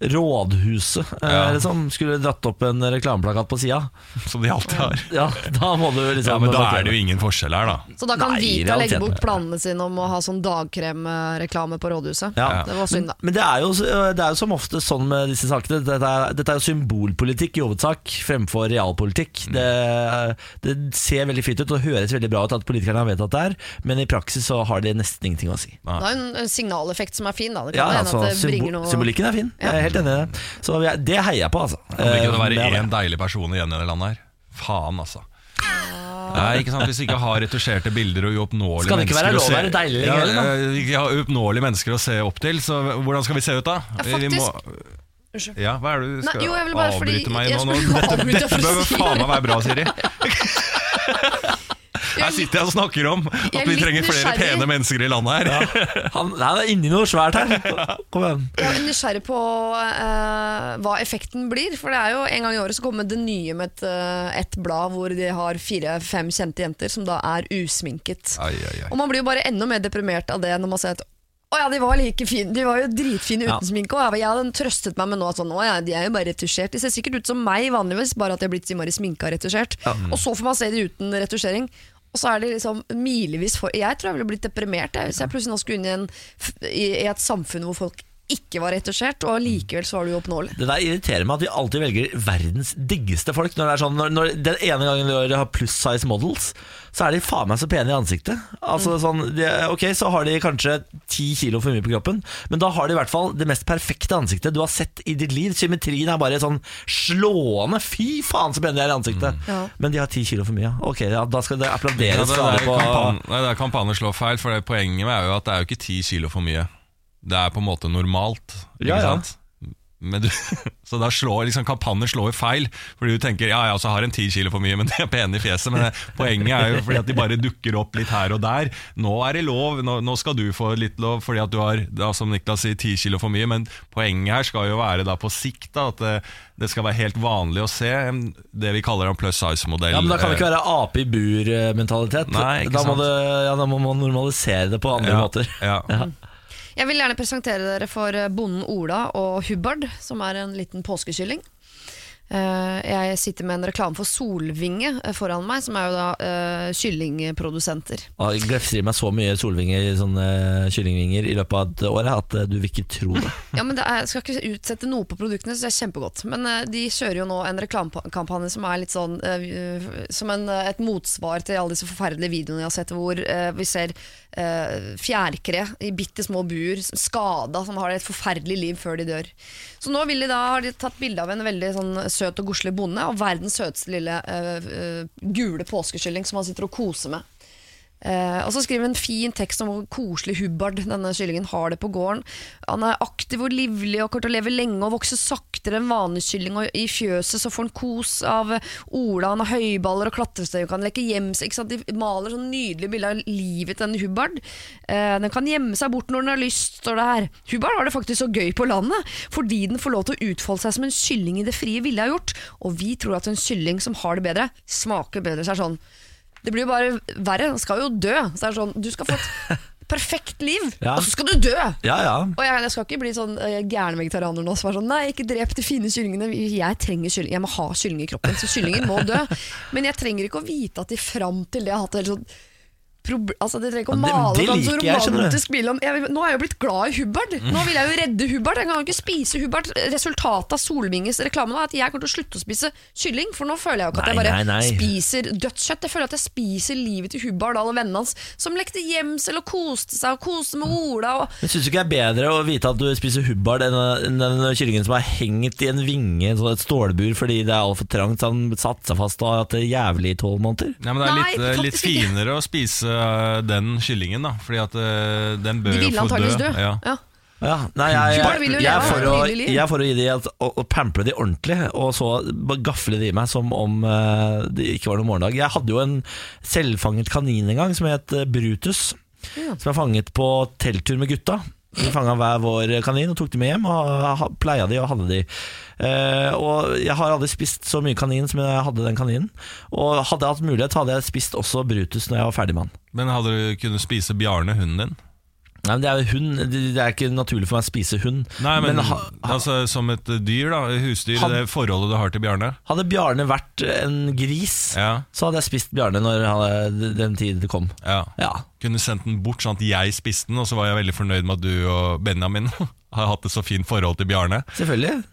Speaker 1: Rådhuset eh,
Speaker 2: Ja.
Speaker 1: liksom, skulle dratt opp en reklameplakat på sida.
Speaker 2: Som de alltid har.
Speaker 1: Ja, da må du
Speaker 2: Ja,
Speaker 1: liksom
Speaker 2: men da er det jo ingen forskjell her, da.
Speaker 3: Så da kan
Speaker 1: Nei, i
Speaker 3: Vita legge
Speaker 1: realiteten.
Speaker 3: bort planene sine om å ha sånn dagkremreklame på rådhuset.
Speaker 1: Ja.
Speaker 3: Det var synd, da.
Speaker 1: Men det er, jo, det er jo som ofte sånn med disse sakene. Dette er, dette er jo symbolpolitikk i hovedsak, fremfor realpolitikk.
Speaker 3: Mm.
Speaker 1: Det, øh, det ser veldig fint ut og høres veldig bra ut at politikerne har vedtatt det her, men i praksis så har det nesten ingenting å si.
Speaker 3: Det er jo en- en signaleffekt som er fin, da. Det
Speaker 1: Ja,
Speaker 3: kan hende
Speaker 1: altså,
Speaker 3: at det bringer
Speaker 1: symbol,
Speaker 3: noe
Speaker 1: symbolikken er fin. Jeg er helt enig i det. Så vi er, det heier jeg på, altså.
Speaker 2: Om det kunne
Speaker 1: Eh,
Speaker 2: være
Speaker 1: men-
Speaker 2: én deilig person igjen i det landet her. Faen, altså. Nei, ikke sant, Hvis vi ikke har retusjerte bilder og uoppnåelige
Speaker 1: Skal det ikke være
Speaker 2: mennesker
Speaker 1: lov å
Speaker 2: se-
Speaker 1: være deilig
Speaker 2: ja,
Speaker 1: lenger, da?
Speaker 2: eh, Ikke ha uoppnåelige mennesker å se opp til, så hvordan skal vi se ut da?
Speaker 3: Ja,
Speaker 2: Vi må-
Speaker 3: Unnskyld.
Speaker 2: Ja, hva er det du
Speaker 3: Nei,
Speaker 2: skal
Speaker 3: jo, jeg vil bare
Speaker 2: avbryte
Speaker 3: fordi-
Speaker 2: meg
Speaker 3: jeg
Speaker 2: nå? nå
Speaker 3: skulle
Speaker 2: dette
Speaker 3: avbryte
Speaker 2: dette
Speaker 3: for å
Speaker 2: bør
Speaker 3: si-
Speaker 2: faen meg være bra, Siri. Her sitter jeg og snakker om
Speaker 3: Jeg
Speaker 2: at
Speaker 3: er
Speaker 2: vi
Speaker 3: litt
Speaker 2: trenger flere
Speaker 3: nysgjerrig.
Speaker 2: pene mennesker i landet her.
Speaker 1: Han, nei, det er inni noe svært her. Kom igjen.
Speaker 3: Jeg er nysgjerrig på eh, hva effekten blir. For det er jo en gang i året så kommer det nye med et, eh, et blad hvor de har fire-fem kjente jenter som da er usminket.
Speaker 2: Ai, ai, ai.
Speaker 3: Og man blir jo bare enda mer deprimert av det når man ser at å ja, de var like fine, de var jo dritfine uten
Speaker 1: Ja.
Speaker 3: sminke. Og jeg hadde trøstet meg med nå at sånn, å ja, de er jo bare retusjert. De ser sikkert ut som meg vanligvis, bare at de har blitt innmari sminka og retusjert. Og så får man se de uten retusjering. Og så er de liksom milevis for Jeg tror jeg ville blitt deprimert jeg, hvis jeg plutselig nå skulle inn i, en, f- i, i et samfunn hvor folk ikke var retusjert, og likevel så var du oppnåelig.
Speaker 1: Det der irriterer meg at de alltid velger verdens diggeste folk. Når det er sånn, når, når Den ene gangen de har pluss size models, så er de faen meg så pene i ansiktet. Altså
Speaker 2: Mm.
Speaker 1: sånn, de, Ok, så har de kanskje ti kilo for mye på kroppen, men da har de i hvert fall det mest perfekte ansiktet du har sett i ditt liv. Symmetrien er bare sånn slående. Fy faen så pene de er i ansiktet!
Speaker 3: Ja.
Speaker 1: Men de har ti kilo for mye. Ok, ja, da skal det
Speaker 2: Mm. Ja,
Speaker 1: applauderes.
Speaker 2: det,
Speaker 1: fra
Speaker 2: der
Speaker 1: alle på-
Speaker 2: kampan- nei, det er kampanje slår feil, for det, poenget er jo at det er jo ikke ti kilo for mye. Det er på en måte normalt, ikke
Speaker 1: Ja, ja.
Speaker 2: sant? Men du, så da slår liksom kampanjer slår jo feil, fordi du tenker ja, jeg også har en ti kilo for mye, men de er pene i fjeset. Men det, poenget er jo fordi at de bare dukker opp litt her og der. Nå er det lov, nå, nå skal du få litt lov, fordi at du har da, som Niklas sier, ti kilo for mye. Men poenget her skal jo være da på sikt da, at det, det skal være helt vanlig å se en- det vi kaller en plus size-modell.
Speaker 1: Ja, men Da kan det
Speaker 2: eh,
Speaker 1: ikke være ape i bur-mentalitet.
Speaker 2: Nei, ikke
Speaker 1: Da, må
Speaker 2: sant.
Speaker 1: det- ja, da må man normalisere det på andre
Speaker 2: eh, ja,
Speaker 1: måter.
Speaker 2: Ja.
Speaker 3: Jeg vil gjerne presentere dere for eh, bonden Ola og Hubbard, som er en liten påskekylling. Eh, Jeg sitter med en reklame for Solvinge eh, foran meg, som er jo da eh, kyllingprodusenter.
Speaker 1: Og Jeg glefser i meg Ah, så mye solvinger, sånne kyllingvinger i løpet av et år at eh, du vil ikke tro det.
Speaker 3: Ja, men det er, Jeg skal ikke utsette noe på produktene, så det er kjempegodt. Men eh, de kjører jo nå en reklamekampanje som er litt sånn eh, Som en, eh, et motsvar til alle disse forferdelige videoene jeg har sett, hvor eh, vi ser eh, fjærkre i bitte små bur, skada, som har et forferdelig liv før de dør. Så nå vil de da, har de tatt bilde av en veldig sånn søt og godslig bonde, og verdens søteste lille eh, eh, gule påskekylling som han sitter og koser med. Eh, og så skriver hun en fin tekst om hvor koselig Hubbard denne kyllingen har det på gården. Han er aktiv og livlig og kommer til å leve lenge og vokser saktere enn vanlig kylling. Og i fjøset så får han kos av eh, Ola, han har høyballer og klatrestøy og kan leke gjemme seg. ikke sant? De maler sånn nydelig bilde av livet til denne Hubbard. Eh, den kan gjemme seg bort når den har lyst, står det her. Hubbard har det faktisk så gøy på landet, fordi den får lov til å utfolde seg som en kylling i det frie ville ha gjort. Og vi tror at en kylling som har det bedre, smaker bedre. Så er det sånn det blir jo bare verre. Han skal jo dø. Så det er sånn, du skal få et perfekt liv,
Speaker 1: Ja.
Speaker 3: og så skal du dø!
Speaker 1: Ja, ja.
Speaker 3: Og jeg, jeg skal ikke bli sånn eh, gæren vegetarianer nå som er sånn Nei, ikke drep de fine kyllingene. Jeg trenger kylling, jeg må ha kylling i kroppen, så kyllingen må dø. Men jeg trenger ikke å vite at de fram til det har hatt helt sånn proble- Altså, De trenger ikke å
Speaker 1: Ja, det-
Speaker 3: male
Speaker 1: det
Speaker 3: et sånt
Speaker 1: liker jeg, skjønner du. Mm.
Speaker 3: romantisk bilde om jeg, vil- Nå er jeg jo blitt glad i Hubbard. Nå vil jeg jo redde Hubbard. Jeg kan jo ikke spise Hubbard. Resultatet av Solvinges reklame nå er at jeg kommer til å slutte å spise kylling, for nå føler jeg jo ikke at jeg
Speaker 1: Nei,
Speaker 3: bare
Speaker 1: nei, nei.
Speaker 3: spiser dødt kjøtt. Jeg føler at jeg spiser livet til Hubbard Dahl og vennene hans, som lekte gjemsel og koste seg og koste
Speaker 1: Mm.
Speaker 3: med Ola. og
Speaker 1: Men Syns du ikke det er bedre å vite at du spiser hubbard enn enn den kyllingen som er hengt i en vinge, sånn et stålbur, fordi det er altfor trangt, så han satte seg fast og har hatt det jævlig i tolv måneder?
Speaker 2: Nei, men Det er
Speaker 3: Nei,
Speaker 2: litt, eh, litt
Speaker 3: faktisk ikke.
Speaker 2: finere å spise eh, den kyllingen, da. Fordi at eh, den bør
Speaker 3: De
Speaker 2: jo
Speaker 3: ville
Speaker 2: få dø.
Speaker 3: antakeligvis dø.
Speaker 2: Ja.
Speaker 3: Ja.
Speaker 1: Ja, nei, jeg,
Speaker 3: Hubbard vil jo
Speaker 1: jeg, er
Speaker 3: leve
Speaker 1: for
Speaker 3: et
Speaker 1: å,
Speaker 3: nydelig liv.
Speaker 1: jeg er for å gi de at, å, å pample de ordentlig, og så bare gafle de i meg som om eh, det ikke var noen morgendag. Jeg hadde jo en selvfanget kanin en gang som het eh, Brutus,
Speaker 3: Ja.
Speaker 1: som jeg fanget på telttur med gutta. Vi fanga hver vår kanin og tok dem med hjem, og ha- pleia de og hadde de. Eh, og jeg har aldri spist så mye kanin som jeg hadde den kaninen. Og hadde jeg hatt mulighet, hadde jeg spist også Brutus når jeg var ferdig med han.
Speaker 2: Men hadde du kunnet spise Bjarne, hunden din?
Speaker 1: Nei, men det er jo hund, det det er ikke naturlig for meg å spise hund.
Speaker 2: Nei, men,
Speaker 1: ha- ha-
Speaker 2: altså, Som et dyr, da. Husdyr.
Speaker 1: Han-
Speaker 2: Det forholdet du har til Bjarne.
Speaker 1: Hadde Bjarne vært en gris,
Speaker 2: Ja,
Speaker 1: så hadde jeg spist Bjarne når han, eh, den tid det kom.
Speaker 2: ja.
Speaker 1: Ja.
Speaker 2: Kunne sendt den bort sånn at jeg spiste den, og så var jeg veldig fornøyd med at du og Benjamin har hatt et så fint forhold til Bjarne.
Speaker 1: Selvfølgelig.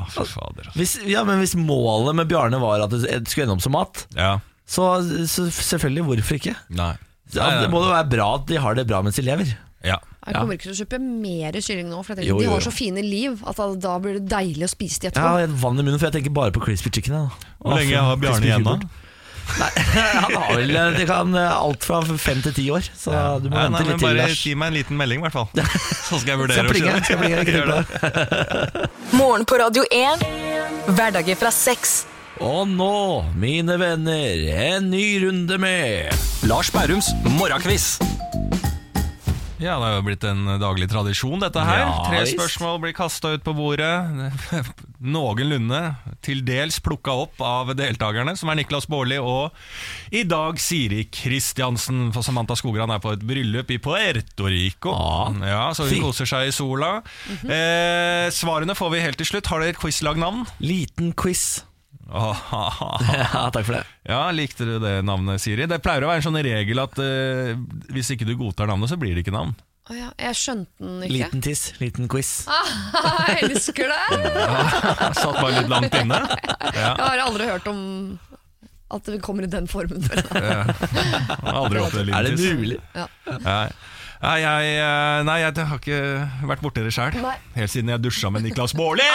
Speaker 2: Å, fy fader. altså.
Speaker 1: Hvis, ja, men hvis målet med Bjarne var at det skulle ende opp som mat,
Speaker 2: Ja,
Speaker 1: så, så selvfølgelig, hvorfor ikke?
Speaker 2: nei.
Speaker 1: Ja,
Speaker 2: Nei,
Speaker 1: det
Speaker 2: nei.
Speaker 1: må jo være bra at de har det bra mens de lever.
Speaker 2: Ja.
Speaker 3: Jeg kommer ikke til å kjøpe mer kylling nå, for jeg tenker,
Speaker 1: Jo, jo,
Speaker 3: de
Speaker 1: jo.
Speaker 3: har så fine liv at da, da blir det deilig å spise de
Speaker 1: Jeg
Speaker 3: etterpå.
Speaker 1: har helt vann i munnen, for jeg tenker bare på crispy chicken. jeg, da.
Speaker 2: Hvor lenge har Bjarne
Speaker 1: Crispy
Speaker 2: igjen, da?
Speaker 1: Hubert. Han har vel det kan, eh, alt fra fem til ti år, så du må
Speaker 2: Nei,
Speaker 1: vente
Speaker 2: nei, men
Speaker 1: litt til.
Speaker 2: bare
Speaker 1: Lars.
Speaker 2: gi meg en liten melding, i hvert fall. Så skal jeg vurdere
Speaker 1: Skal plinge,
Speaker 2: kjøpe.
Speaker 1: skal plinge,
Speaker 2: Gjør det.
Speaker 1: knippe.
Speaker 4: Morgen på Radio 1. Hverdager fra seks.
Speaker 1: Og nå, mine venner, en ny runde med
Speaker 6: Lars Bærums morgenkviss.
Speaker 2: Ja, det har jo blitt en daglig tradisjon, dette her.
Speaker 1: Ja,
Speaker 2: Tre
Speaker 1: visst.
Speaker 2: spørsmål blir kasta ut på bordet. Noenlunde til dels plukka opp av deltakerne, som er Niklas Baarli og i dag Siri Kristiansen. For Samantha Skogran er på et bryllup i Puerto Rico.
Speaker 1: Ja.
Speaker 2: ja Så hun
Speaker 1: Fint.
Speaker 2: koser seg i sola. eh, svarene får vi helt til slutt. Har dere et quizlagnavn?
Speaker 1: liten quiz.
Speaker 2: Åh,
Speaker 1: Ja, takk for det.
Speaker 2: Ja, likte du det navnet, Siri? Det pleier å være en sånn regel at eh, hvis ikke du godtar navnet, så blir det ikke navn.
Speaker 3: Å ja, jeg skjønte den ikke.
Speaker 1: Liten tiss, liten quiz.
Speaker 3: Ah, jeg elsker det!
Speaker 2: Satt bare litt langt inne. Ja,
Speaker 3: Jeg har aldri hørt om at det kommer i den formen før.
Speaker 2: har aldri opplevd
Speaker 1: Er det
Speaker 2: liten tiss.
Speaker 1: mulig?
Speaker 2: Nei. Nei, jeg, eh, nei, jeg har ikke vært borti det sjøl.
Speaker 3: Nei. Ah!
Speaker 2: Helt siden jeg dusja med Niklas Baarli!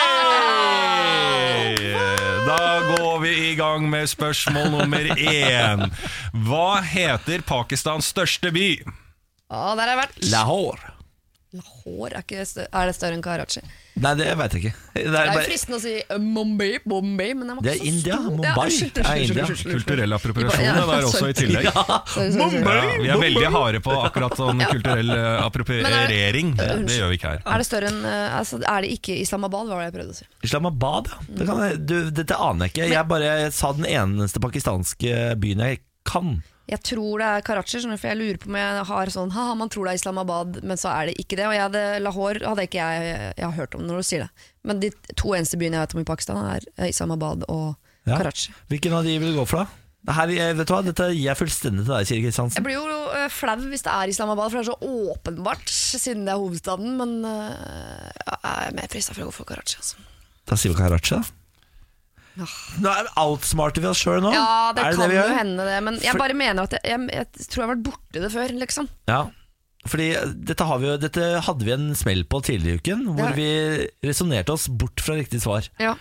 Speaker 2: Da går vi i gang med spørsmål nummer én. Hva heter Pakistans største by?
Speaker 3: Ah, der har jeg vært.
Speaker 1: Lahore.
Speaker 3: Lahore er, ikke stø er det større enn Karachi? Det
Speaker 1: Nei, det veit jeg ikke. Det er,
Speaker 3: er jo
Speaker 1: bare,
Speaker 3: fristende å si eh, Mumbai, Bombay, men den var
Speaker 1: det er
Speaker 3: ikke så
Speaker 1: India.
Speaker 3: stor. Ja,
Speaker 1: Mumbai.
Speaker 3: unnskyld,
Speaker 1: Det er
Speaker 3: unnskyld,
Speaker 1: India.
Speaker 3: unnskyld, unnsjon.
Speaker 2: Kulturell appropriasjon det der også i tillegg.
Speaker 3: Sorry, sorry, sorry.
Speaker 2: Ja, vi er veldig harde på akkurat sånn kulturell eh, appropriering.
Speaker 3: Men er-
Speaker 2: Det gjør vi ikke her.
Speaker 3: Er det større enn eh, altså, Er det ikke Islamabad, var det jeg prøvde å si.
Speaker 1: Islamabad, ja. Det kan jeg, du, dette aner jeg ikke. Jeg bare sa den eneste pakistanske byen jeg kan.
Speaker 3: Jeg tror det er Karachi, skjønner du, for jeg lurer på om jeg har sånn Haha, man tror det er Islamabad, men så er det ikke det. Og jeg hadde, Lahore hadde ikke jeg, jeg har hørt om når du sier det. Men de to eneste byene jeg vet om i Pakistan, er eh, Islamabad og
Speaker 1: Ja.
Speaker 3: Karachi.
Speaker 1: Hvilken av de vil du gå for, da? Det Her, jeg- vet du hva, Dette gir jeg fullstendig til deg, Siri Kristiansen.
Speaker 3: Jeg blir jo eh, flau hvis det er Islamabad, for det er så åpenbart, siden det er hovedstaden. Men eh, jeg er mer frista for å gå for Karachi, altså.
Speaker 1: Da sier vi Karachi, da.
Speaker 3: Ja.
Speaker 1: Nå er vi outsmarter vi oss sjøl nå.
Speaker 3: Ja, det
Speaker 1: er det det
Speaker 3: kan
Speaker 1: vi
Speaker 3: jo
Speaker 1: gjør?
Speaker 3: hende, det. Men jeg
Speaker 1: For-
Speaker 3: bare mener at jeg, jeg, jeg tror jeg har vært borti det før, liksom.
Speaker 1: Ja. Fordi dette, har vi jo, dette hadde vi en smell på tidligere i uken, hvor
Speaker 3: Ja.
Speaker 1: vi resonnerte oss bort fra riktig svar.
Speaker 3: Ja.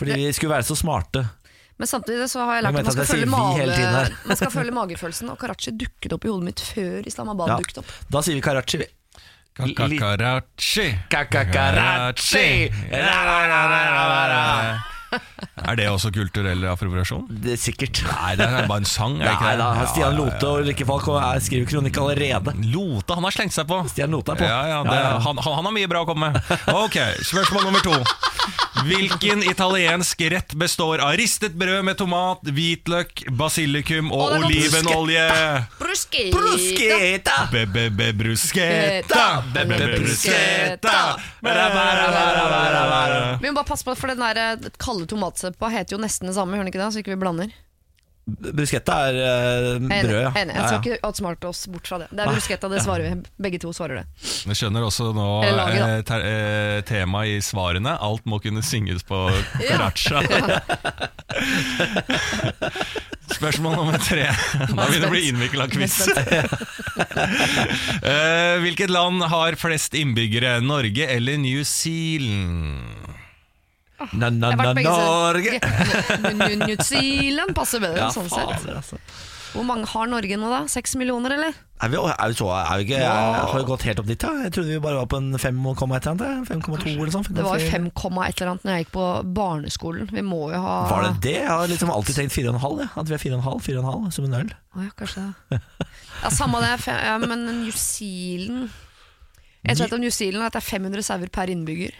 Speaker 1: Fordi vi skulle være så smarte.
Speaker 3: Men samtidig så har jeg
Speaker 1: Jeg
Speaker 3: lært at man
Speaker 1: mente
Speaker 3: skal,
Speaker 1: at
Speaker 3: følge
Speaker 1: jeg sier vi hele tiden
Speaker 3: mage,
Speaker 1: her.
Speaker 3: man skal følge magefølelsen, og Karachi dukket opp i hodet mitt før Islamabad
Speaker 1: Ja.
Speaker 3: dukket opp.
Speaker 1: Da sier vi Karachi. vi.
Speaker 2: Kakakarachi.
Speaker 1: Kakakarachi.
Speaker 2: Eh, Er det også kulturell appropriasjon?
Speaker 1: Det er sikkert.
Speaker 2: Nei, det er bare en sang. Er det ikke
Speaker 1: Nei
Speaker 2: det?
Speaker 1: da,
Speaker 2: Ja,
Speaker 1: Stian
Speaker 2: ja,
Speaker 1: Lote
Speaker 2: ja.
Speaker 1: og Ulrikke Falk og jeg skriver kronikk allerede.
Speaker 2: Lote, han har slengt seg på.
Speaker 1: Stian Lote er på.
Speaker 2: Ja, ja, det,
Speaker 1: Ja, ja.
Speaker 2: Han, han- han har mye bra å komme med. Ok, Spørsmål nummer to. Hvilken italiensk rett består av ristet brød med tomat, hvitløk, basilikum og
Speaker 3: Å, det var
Speaker 2: olivenolje?
Speaker 3: Bruskita!
Speaker 1: Bruschetta!
Speaker 2: Bebebebrusketa, bebebebrusketa
Speaker 1: Bra-bra-bra-bra-bra-bra.
Speaker 3: Vi må bare passe på, for den der eh, kalde tomatsuppa heter jo nesten det samme, gjør den ikke det? Så ikke vi blander.
Speaker 1: Bruschetta er eh,
Speaker 3: Jeg er
Speaker 1: brød, ja.
Speaker 3: enig, enig. Jeg
Speaker 1: Ja, ja.
Speaker 3: skal ikke outsmarte oss bort fra det. Det er bruschetta, det svarer vi. Begge to svarer det.
Speaker 2: Jeg skjønner også nå
Speaker 3: Eller laget, da.
Speaker 2: eh, ter- eh, temaet i svarene. Alt må kunne synges på
Speaker 3: Ja.
Speaker 2: karacha. Spørsmål nummer tre. Da begynner det å bli innvikla quiz. Eh, Hvilket land har flest innbyggere? Norge eller New Zealand?
Speaker 1: Na, na,
Speaker 3: Jeg har
Speaker 1: na,
Speaker 3: vært begge
Speaker 1: Norge!
Speaker 3: sider. New- New Zealand passer bedre,
Speaker 1: Ja,
Speaker 3: sånn sett.
Speaker 1: fader, altså.
Speaker 3: Hvor mange har Norge nå, da? Seks millioner, eller?
Speaker 1: Er vi, er vi så, er vi ikke, jeg har jo gått helt opp dit, ja. Jeg trodde vi bare var på en 5,1 eller noe. 5,2 eller sånn.
Speaker 3: Det var jo 5, komma et eller annet når jeg gikk på barneskolen. Vi må jo ha
Speaker 1: Var det det? Jeg har liksom alltid tenkt 4,5. jeg. At vi er 4,5 4,5 som en øl.
Speaker 3: Å ja, kanskje det. Ja, Samme det, fe- ja, men New Zealand Jeg vet om New Zealand er at det er 500 sauer per innbygger.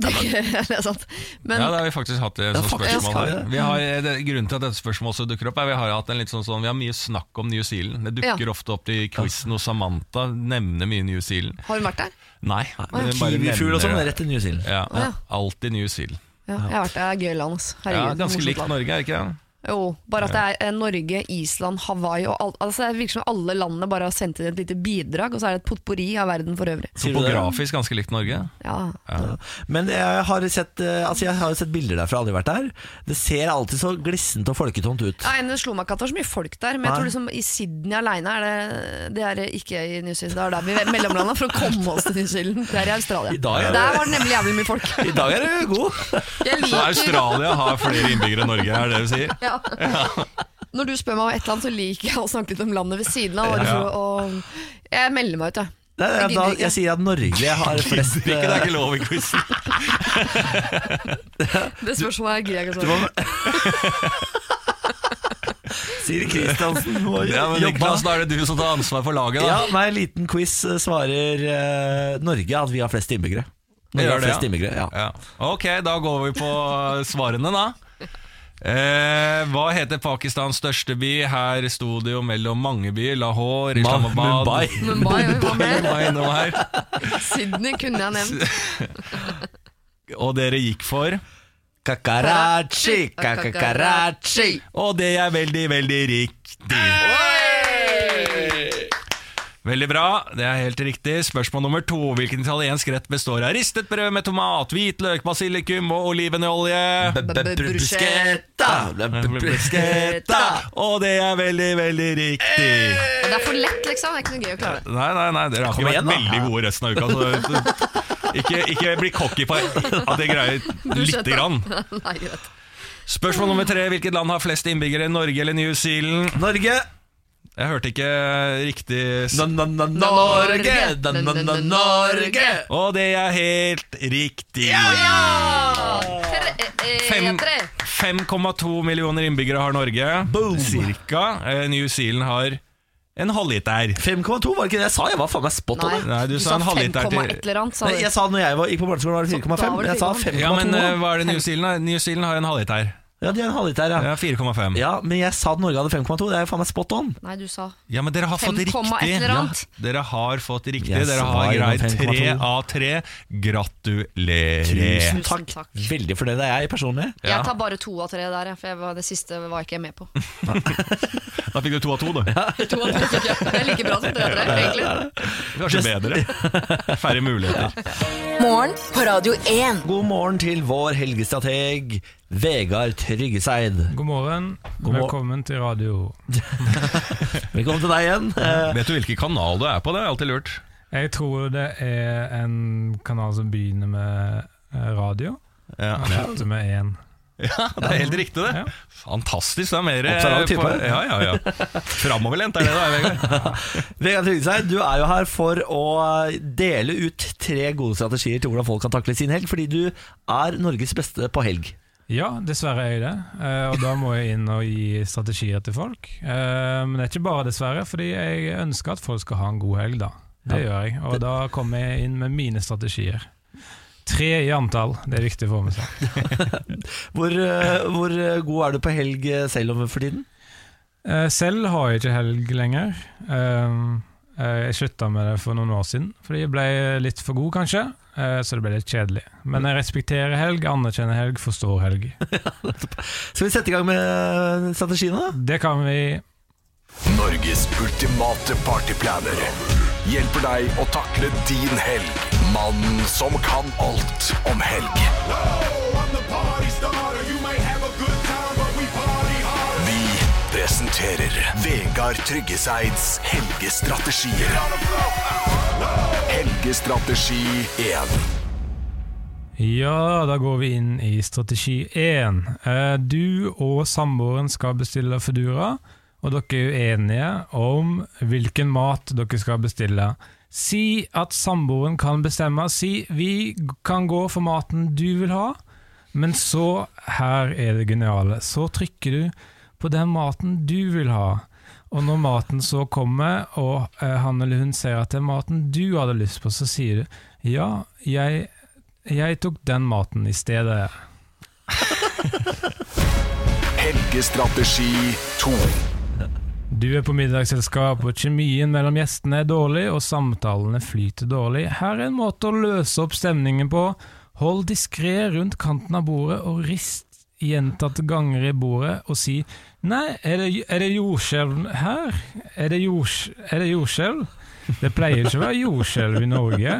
Speaker 3: Det er ikke- det er sant. Men
Speaker 2: Ja, det har vi faktisk hatt et sånt
Speaker 1: faktisk
Speaker 2: spørsmål
Speaker 1: har vi
Speaker 2: her.
Speaker 1: det.
Speaker 2: Vi har, eh, det, grunnen til at dette spørsmålet også dukker opp, er vi har hatt en litt sånn, sånn Vi har mye snakk om New Zealand. Det dukker ofte opp i quizen, og Samantha nevner mye New Zealand.
Speaker 3: har hun vært der?
Speaker 2: Nei, men hun bare
Speaker 1: Kiwifugl og
Speaker 2: nevner
Speaker 1: sånn,
Speaker 2: det.
Speaker 1: rett til New Zealand.
Speaker 2: Ja,
Speaker 3: ja.
Speaker 2: Alltid New Zealand.
Speaker 3: Ja, jeg har vært der. Det er Gøy land, ass. Herregud.
Speaker 2: Ja, ganske
Speaker 3: morsomt
Speaker 2: likt
Speaker 3: land.
Speaker 2: Norge, er det ikke det?
Speaker 3: Jo, bare at det er eh, Norge, Island, Hawaii og alt. Altså, det virker som alle landene bare har sendt inn et lite bidrag, og så er det et potpourri av verden for øvrig.
Speaker 1: Sier du det?
Speaker 2: Topografisk ganske likt Norge.
Speaker 3: Ja.
Speaker 1: Men jeg har, sett, eh, altså jeg har jo sett bilder derfra, aldri vært der. Det ser alltid så glissent og folketomt ut.
Speaker 3: Ja, en slo meg ikke at det var så mye folk der, men jeg tror liksom i Sydney aleine er det Det er ikke i New Zealand, det er der vi mellomlanda for å komme oss til New Zealand. Det er i Australia.
Speaker 1: I dag er det-
Speaker 3: Der var det nemlig jævlig mye folk.
Speaker 1: I dag er du god!
Speaker 3: Jeg
Speaker 2: Så
Speaker 3: liker
Speaker 2: Australia har flere innbyggere enn Norge, er det det du sier?
Speaker 3: ja. Når du spør meg om et land, så liker liksom, jeg å snakke litt om landet ved siden av. bare for å- og Jeg melder meg ut, jeg.
Speaker 1: Nei, nei, da,
Speaker 3: Jeg gidder ikke.
Speaker 1: jeg sier at Norge har flest
Speaker 2: Gidder ikke, det er ikke lov i quizen.
Speaker 3: Det spørsmålet her gidder jeg ikke å
Speaker 1: Du
Speaker 3: svare
Speaker 1: må- eh, Sier Kristiansen. Du må
Speaker 2: Ja, men
Speaker 1: jobbe.
Speaker 2: Niklas, da er det du som tar ansvar for laget, da.
Speaker 1: Ja, nei, en liten quiz eh, svarer eh, Norge at vi har flest innbyggere.
Speaker 2: Det
Speaker 1: Norge
Speaker 2: gjør
Speaker 1: har
Speaker 2: det,
Speaker 1: flest
Speaker 2: ja.
Speaker 1: innbyggere, ja.
Speaker 2: Ja. Ok, da går vi på svarene, da. Eh, hva heter Pakistans største by? Her sto det jo mellom mange byer. Lahore,
Speaker 1: Ma-
Speaker 2: Islamabad
Speaker 1: Mumbai.
Speaker 3: Mumbai, jo, hva mer?
Speaker 2: Mumbai innom her.
Speaker 3: Sydney kunne jeg nevnt.
Speaker 2: Og dere gikk for
Speaker 1: Kakarachi, kakarachi.
Speaker 2: Og det er veldig, veldig riktig. Veldig bra, det er helt riktig. Spørsmål nummer to. Hvilken italiensk rett består av ristet brød med tomat, hvitløk, basilikum og olivenolje?
Speaker 1: Bruschetta, bruschetta.
Speaker 2: Og det er veldig, veldig riktig.
Speaker 3: Det er for lett, liksom. Det er ikke noe gøy å klare.
Speaker 2: Nei, nei, nei, dere har
Speaker 1: Eh. Kom
Speaker 2: ikke
Speaker 1: igjen,
Speaker 2: vært
Speaker 1: da.
Speaker 2: veldig gode resten av uka. Så ikke, ikke bli cocky på at dere greier lite grann.
Speaker 3: Nei, greit.
Speaker 2: Spørsmål nummer tre. Hvilket land har flest innbyggere? Norge eller New Zealand?
Speaker 1: Norge,
Speaker 2: Jeg hørte ikke riktig s-
Speaker 1: na-na-na-Norge, na-na-na-Norge.
Speaker 2: Og det er helt riktig.
Speaker 3: Tre, eh,
Speaker 2: Fem-
Speaker 3: tre.
Speaker 2: 5,2 millioner innbyggere har Norge.
Speaker 1: Boom.
Speaker 2: Cirka. Eh, New Zealand har en halvliter.
Speaker 1: 5,2 var det ikke det jeg sa? Jeg var faen meg spot on.
Speaker 3: Nei,
Speaker 1: jeg.
Speaker 2: Nei, du
Speaker 3: du
Speaker 2: sa
Speaker 3: sa
Speaker 2: en halvliter
Speaker 3: 5,1
Speaker 2: til-
Speaker 3: eller annet, sa
Speaker 1: Nei,
Speaker 3: du.
Speaker 1: Jeg sa når jeg var, gikk på barneskolen var det 4,5.
Speaker 3: Da var det
Speaker 1: Jeg sa
Speaker 3: 4,2.
Speaker 1: 5,2.
Speaker 2: Ja, men eh,
Speaker 1: nå.
Speaker 2: hva er det New Zealand? da? New Zealand har en halvliter.
Speaker 1: Ja, de har en halvliter, ja.
Speaker 2: Ah. Ja, 4,5.
Speaker 1: Ja, men jeg sa at Norge hadde 5,2. Det er jo faen meg spot on.
Speaker 3: Nei, du sa
Speaker 2: Ja, men dere har fått
Speaker 3: 5,1
Speaker 2: riktig.
Speaker 3: eller
Speaker 2: Ja,
Speaker 3: annet.
Speaker 2: dere har fått riktig.
Speaker 1: Jeg
Speaker 2: Dere
Speaker 1: svarer
Speaker 2: har greid
Speaker 1: på 5,2.
Speaker 2: 3 av 3. Gratulerer.
Speaker 1: Tusen
Speaker 3: Tusen
Speaker 1: takk.
Speaker 3: takk.
Speaker 1: Veldig for det. Det er jeg personlig.
Speaker 2: Ja.
Speaker 3: Jeg tar bare to av tre der, jeg, for jeg var, det siste var jeg ikke med på.
Speaker 2: Da fikk du to av to, du.
Speaker 3: To av tre fikk jeg. Det er like bra som tre av tre, egentlig.
Speaker 2: Kanskje bedre. Færre muligheter.
Speaker 4: Morgen på Radio 1.
Speaker 1: God morgen til vår helgestrateg Vegard Tryggeseid.
Speaker 7: God morgen.
Speaker 1: God mor-
Speaker 7: Velkommen til radio.
Speaker 1: Velkommen til deg igjen. Eh,
Speaker 2: Vet du hvilken kanal du er på? Det er alltid lurt.
Speaker 7: Jeg tror det er en kanal som begynner med eh, radio.
Speaker 2: Ja.
Speaker 7: Og slutter med én.
Speaker 2: Ja, det er helt riktig det.
Speaker 7: Ja.
Speaker 2: Fantastisk. Det er mer eh,
Speaker 1: Observant type.
Speaker 2: på- Ja, ja, ja. Framoverlent er det da, Vegard.
Speaker 1: Vegard Tryggeseid, du er jo her for å dele ut tre gode strategier til hvordan folk kan takle sin helg, fordi du er Norges beste på helg.
Speaker 7: Ja, dessverre er jeg det. Eh, Og da må jeg inn og gi strategier til folk. Eh, Men det er ikke bare dessverre, fordi jeg ønsker at folk skal ha en god helg, da. Det gjør jeg. Og da kommer jeg inn med mine strategier. Tre i antall, det er viktig å få med seg.
Speaker 1: Hvor, eh, hvor eh, god er du på helg eh, selv om for tiden?
Speaker 7: Eh, Selv har jeg ikke helg lenger. Ehm, eh, Jeg slutta med det for noen år siden, fordi jeg ble litt for god, kanskje. eh, Så det ble litt kjedelig. Men jeg respekterer helg, anerkjenner helg, forstår helg.
Speaker 1: Skal vi sette i gang med strategiene, da?
Speaker 7: Det kan vi.
Speaker 8: Norges ultimate partyplaner hjelper deg å takle din helg. Mannen som kan alt om helg. Vi presenterer Vegard Tryggeseids helgestrategier. Helgestrategi 1.
Speaker 7: Ja, da går vi inn i strategi én. Eh, Du og samboeren skal bestille Foodora, og dere er uenige om hvilken mat dere skal bestille. Si at samboeren kan bestemme. Si vi kan gå for maten du vil ha, men så, her er det geniale, så trykker du på den maten du vil ha. Og når maten så kommer, og eh, han eller hun ser at det er maten du hadde lyst på, så sier du ja, jeg, jeg tok den maten i stedet.
Speaker 8: Helgestrategi 2.
Speaker 7: Du er på middagsselskap, og kjemien mellom gjestene er dårlig, og samtalene flyter dårlig. Her er en måte å løse opp stemningen på. Hold diskré rundt kanten av bordet, og rist gjentatte ganger i bordet, og si Nei, er det, er det jordskjelv her? Er det, jords, er det jordskjelv? Det pleier ikke å være jordskjelv i Norge.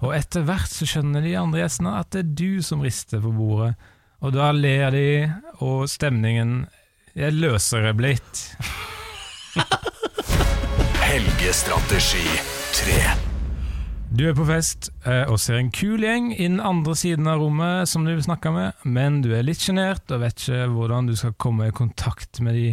Speaker 7: Og etter hvert så skjønner de andre gjestene at det er du som rister på bordet. Og da ler de, og stemningen er løsere blitt.
Speaker 8: Helgestrategi 3.
Speaker 7: Du er på fest eh, og ser en kul gjeng innen andre siden av rommet som du vil snakke med, men du er litt sjenert og vet ikke hvordan du skal komme i kontakt med de.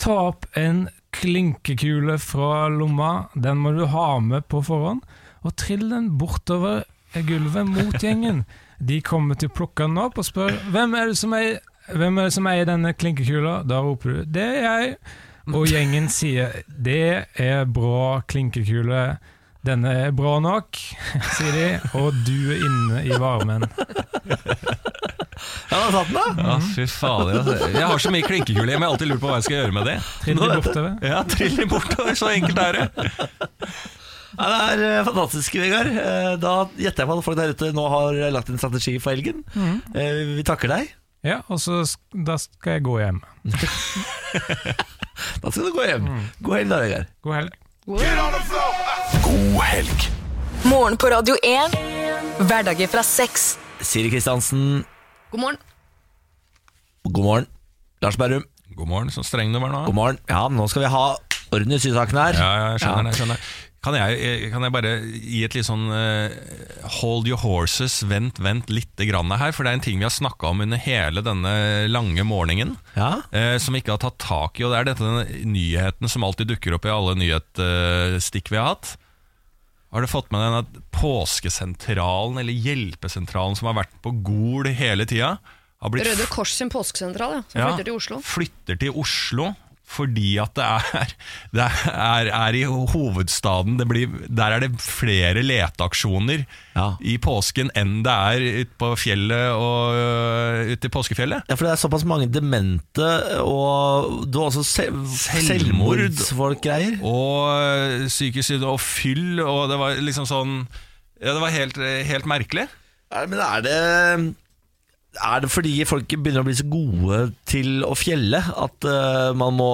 Speaker 7: Ta opp en klinkekule fra lomma. Den må du ha med på forhånd. Og trill den bortover gulvet mot gjengen. De kommer til å plukke den opp og spør hvem er det som eier, hvem er det som eier denne klinkekula. Da roper du 'det er jeg', og gjengen sier 'det er bra klinkekule'. Denne er bra nok, sier de, og du er inne i varmen.
Speaker 1: Ja, da satt den, da!
Speaker 2: Ja, fy fader. Altså. Jeg har så mye klinkekuler hjemme, jeg har alltid lurt på hva jeg skal gjøre med det.
Speaker 7: Trill de bortover.
Speaker 2: Ja, trill dem bortover, så enkelt er det.
Speaker 1: Ja, det er eh, fantastisk, Vegard. Eh, Da gjetter jeg på at folk der ute nå har eh, lagt en strategi for helgen.
Speaker 3: Mm.
Speaker 1: Eh, Vi takker deg.
Speaker 7: Ja, og så sk- da skal jeg gå hjem.
Speaker 1: Da skal du gå hjem. God helg, da, Vegard.
Speaker 7: God helg.
Speaker 8: God helg.
Speaker 4: Morgen på Radio 1. Hverdager fra seks.
Speaker 1: Siri Kristiansen,
Speaker 3: God morgen.
Speaker 1: god morgen. Lars Berrum,
Speaker 2: God morgen, så streng du var nå.
Speaker 1: god morgen. Ja, nå skal vi ha orden i sysaken her.
Speaker 2: Ja, ja, jeg skjønner, jeg skjønner. Kan jeg, eh, kan jeg bare gi et litt sånn eh, hold your horses, vent, vent lite grann her? For det er en ting vi har snakka om under hele denne lange morgenen.
Speaker 1: Ja.
Speaker 2: eh, som vi ikke har tatt tak i, og det er dette den nyheten som alltid dukker opp i alle nyhetsstikk vi har hatt. Har du fått med den at påskesentralen, eller hjelpesentralen som har vært på Gol hele tida, har blitt
Speaker 3: Røde Kors sin påskesentral, ja, som
Speaker 2: ja,
Speaker 3: flytter til Oslo.
Speaker 2: Flytter til Oslo fordi at det er, det er, er i hovedstaden. Det blir, der er det flere leteaksjoner
Speaker 1: Ja.
Speaker 2: i påsken enn det er ute på fjellet og øh, ute i påskefjellet.
Speaker 1: Ja, for det er såpass mange demente, og du har også sel
Speaker 2: Selvmord.
Speaker 1: selvmordsfolk-greier.
Speaker 2: Og øh, psykisk sykdom og fyll, og det var liksom sånn ja, Det var helt, helt merkelig.
Speaker 1: Er- Men er det er det fordi folk begynner å bli så gode til å fjelle at eh, man må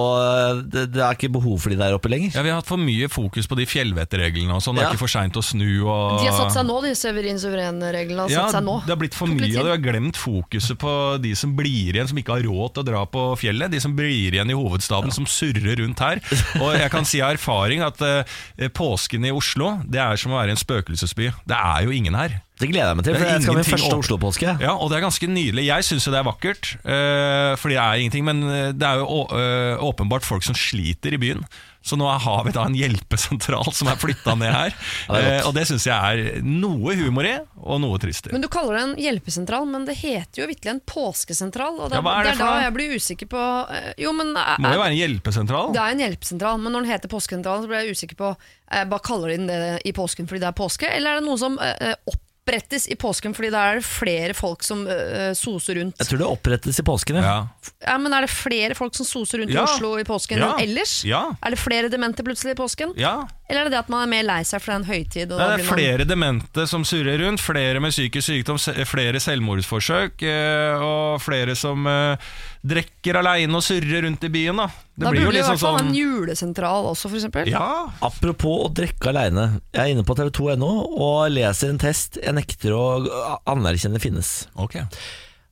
Speaker 1: det, det er ikke behov for de der oppe lenger?
Speaker 2: Ja, Vi har hatt for mye fokus på de fjellvettreglene og sånn. Det
Speaker 1: Ja.
Speaker 2: er ikke for seint å snu. Og
Speaker 3: De har satt seg nå, de Severin Suveren-reglene. har
Speaker 2: Ja,
Speaker 3: satt seg nå.
Speaker 2: Det har blitt for
Speaker 3: Tok
Speaker 2: mye,
Speaker 3: litt
Speaker 2: og
Speaker 3: tid.
Speaker 2: du har glemt fokuset på de som blir igjen, som ikke har råd til å dra på fjellet. De som blir igjen i hovedstaden, som surrer rundt her. Og jeg kan si av erfaring at eh, påsken i Oslo, det er som å være i en spøkelsesby. Det er jo ingen her.
Speaker 1: Det gleder jeg meg til,
Speaker 2: Det er
Speaker 1: for jeg skal ha min
Speaker 2: ingenting
Speaker 1: første
Speaker 2: åpent.
Speaker 1: Oslo-påske.
Speaker 2: Ja, og det er ganske nydelig. Jeg syns jo det er vakkert, eh, fordi det er ingenting. Men eh, det er jo å- eh, åpenbart folk som sliter i byen. Så nå har vi da en hjelpesentral som er flytta ned her.
Speaker 1: det er godt.
Speaker 2: Eh, og det syns jeg er noe humor i, og noe trist i.
Speaker 3: Men Du kaller det en hjelpesentral, men det heter jo vitterlig en påskesentral. Og det,
Speaker 2: Ja, hva er
Speaker 3: det
Speaker 2: det
Speaker 3: er
Speaker 2: for
Speaker 3: da
Speaker 2: noe?
Speaker 3: jeg blir usikker på eh, Jo, men
Speaker 2: Det må jo
Speaker 3: eh,
Speaker 2: være en hjelpesentral.
Speaker 3: det er en hjelpesentral, men når den heter påskesentralen, så blir jeg usikker på eh, Bare kaller de den det i påsken fordi det er påske, eller er det noe som eh, opprettes i påsken fordi det er flere folk som eh, soser rundt?
Speaker 1: Jeg tror det opprettes i påsken. Ja.
Speaker 2: Ja.
Speaker 3: Ja, men Er det flere folk som soser rundt i
Speaker 2: Ja.
Speaker 3: Oslo i påsken
Speaker 2: Ja.
Speaker 3: enn ellers?
Speaker 2: Ja.
Speaker 3: Er det flere demente plutselig i påsken?
Speaker 2: Ja,
Speaker 3: Eller er det det at man er mer lei seg for det er en høytid?
Speaker 2: det
Speaker 3: Og da
Speaker 2: er
Speaker 3: blir man...
Speaker 2: flere demente som surrer rundt, flere med psykisk sykdom, se- flere selvmordsforsøk, eh, og flere som eh, drikker aleine og surrer rundt i byen. Da, det
Speaker 3: Da
Speaker 2: blir jo
Speaker 3: burde vi i
Speaker 2: liksom
Speaker 3: hvert fall ha
Speaker 2: sånn
Speaker 3: en julesentral også, for eksempel.
Speaker 2: Ja,
Speaker 1: Apropos å drikke aleine. Jeg er inne på tv2.no og leser en test jeg nekter å anerkjenne finnes.
Speaker 2: ok.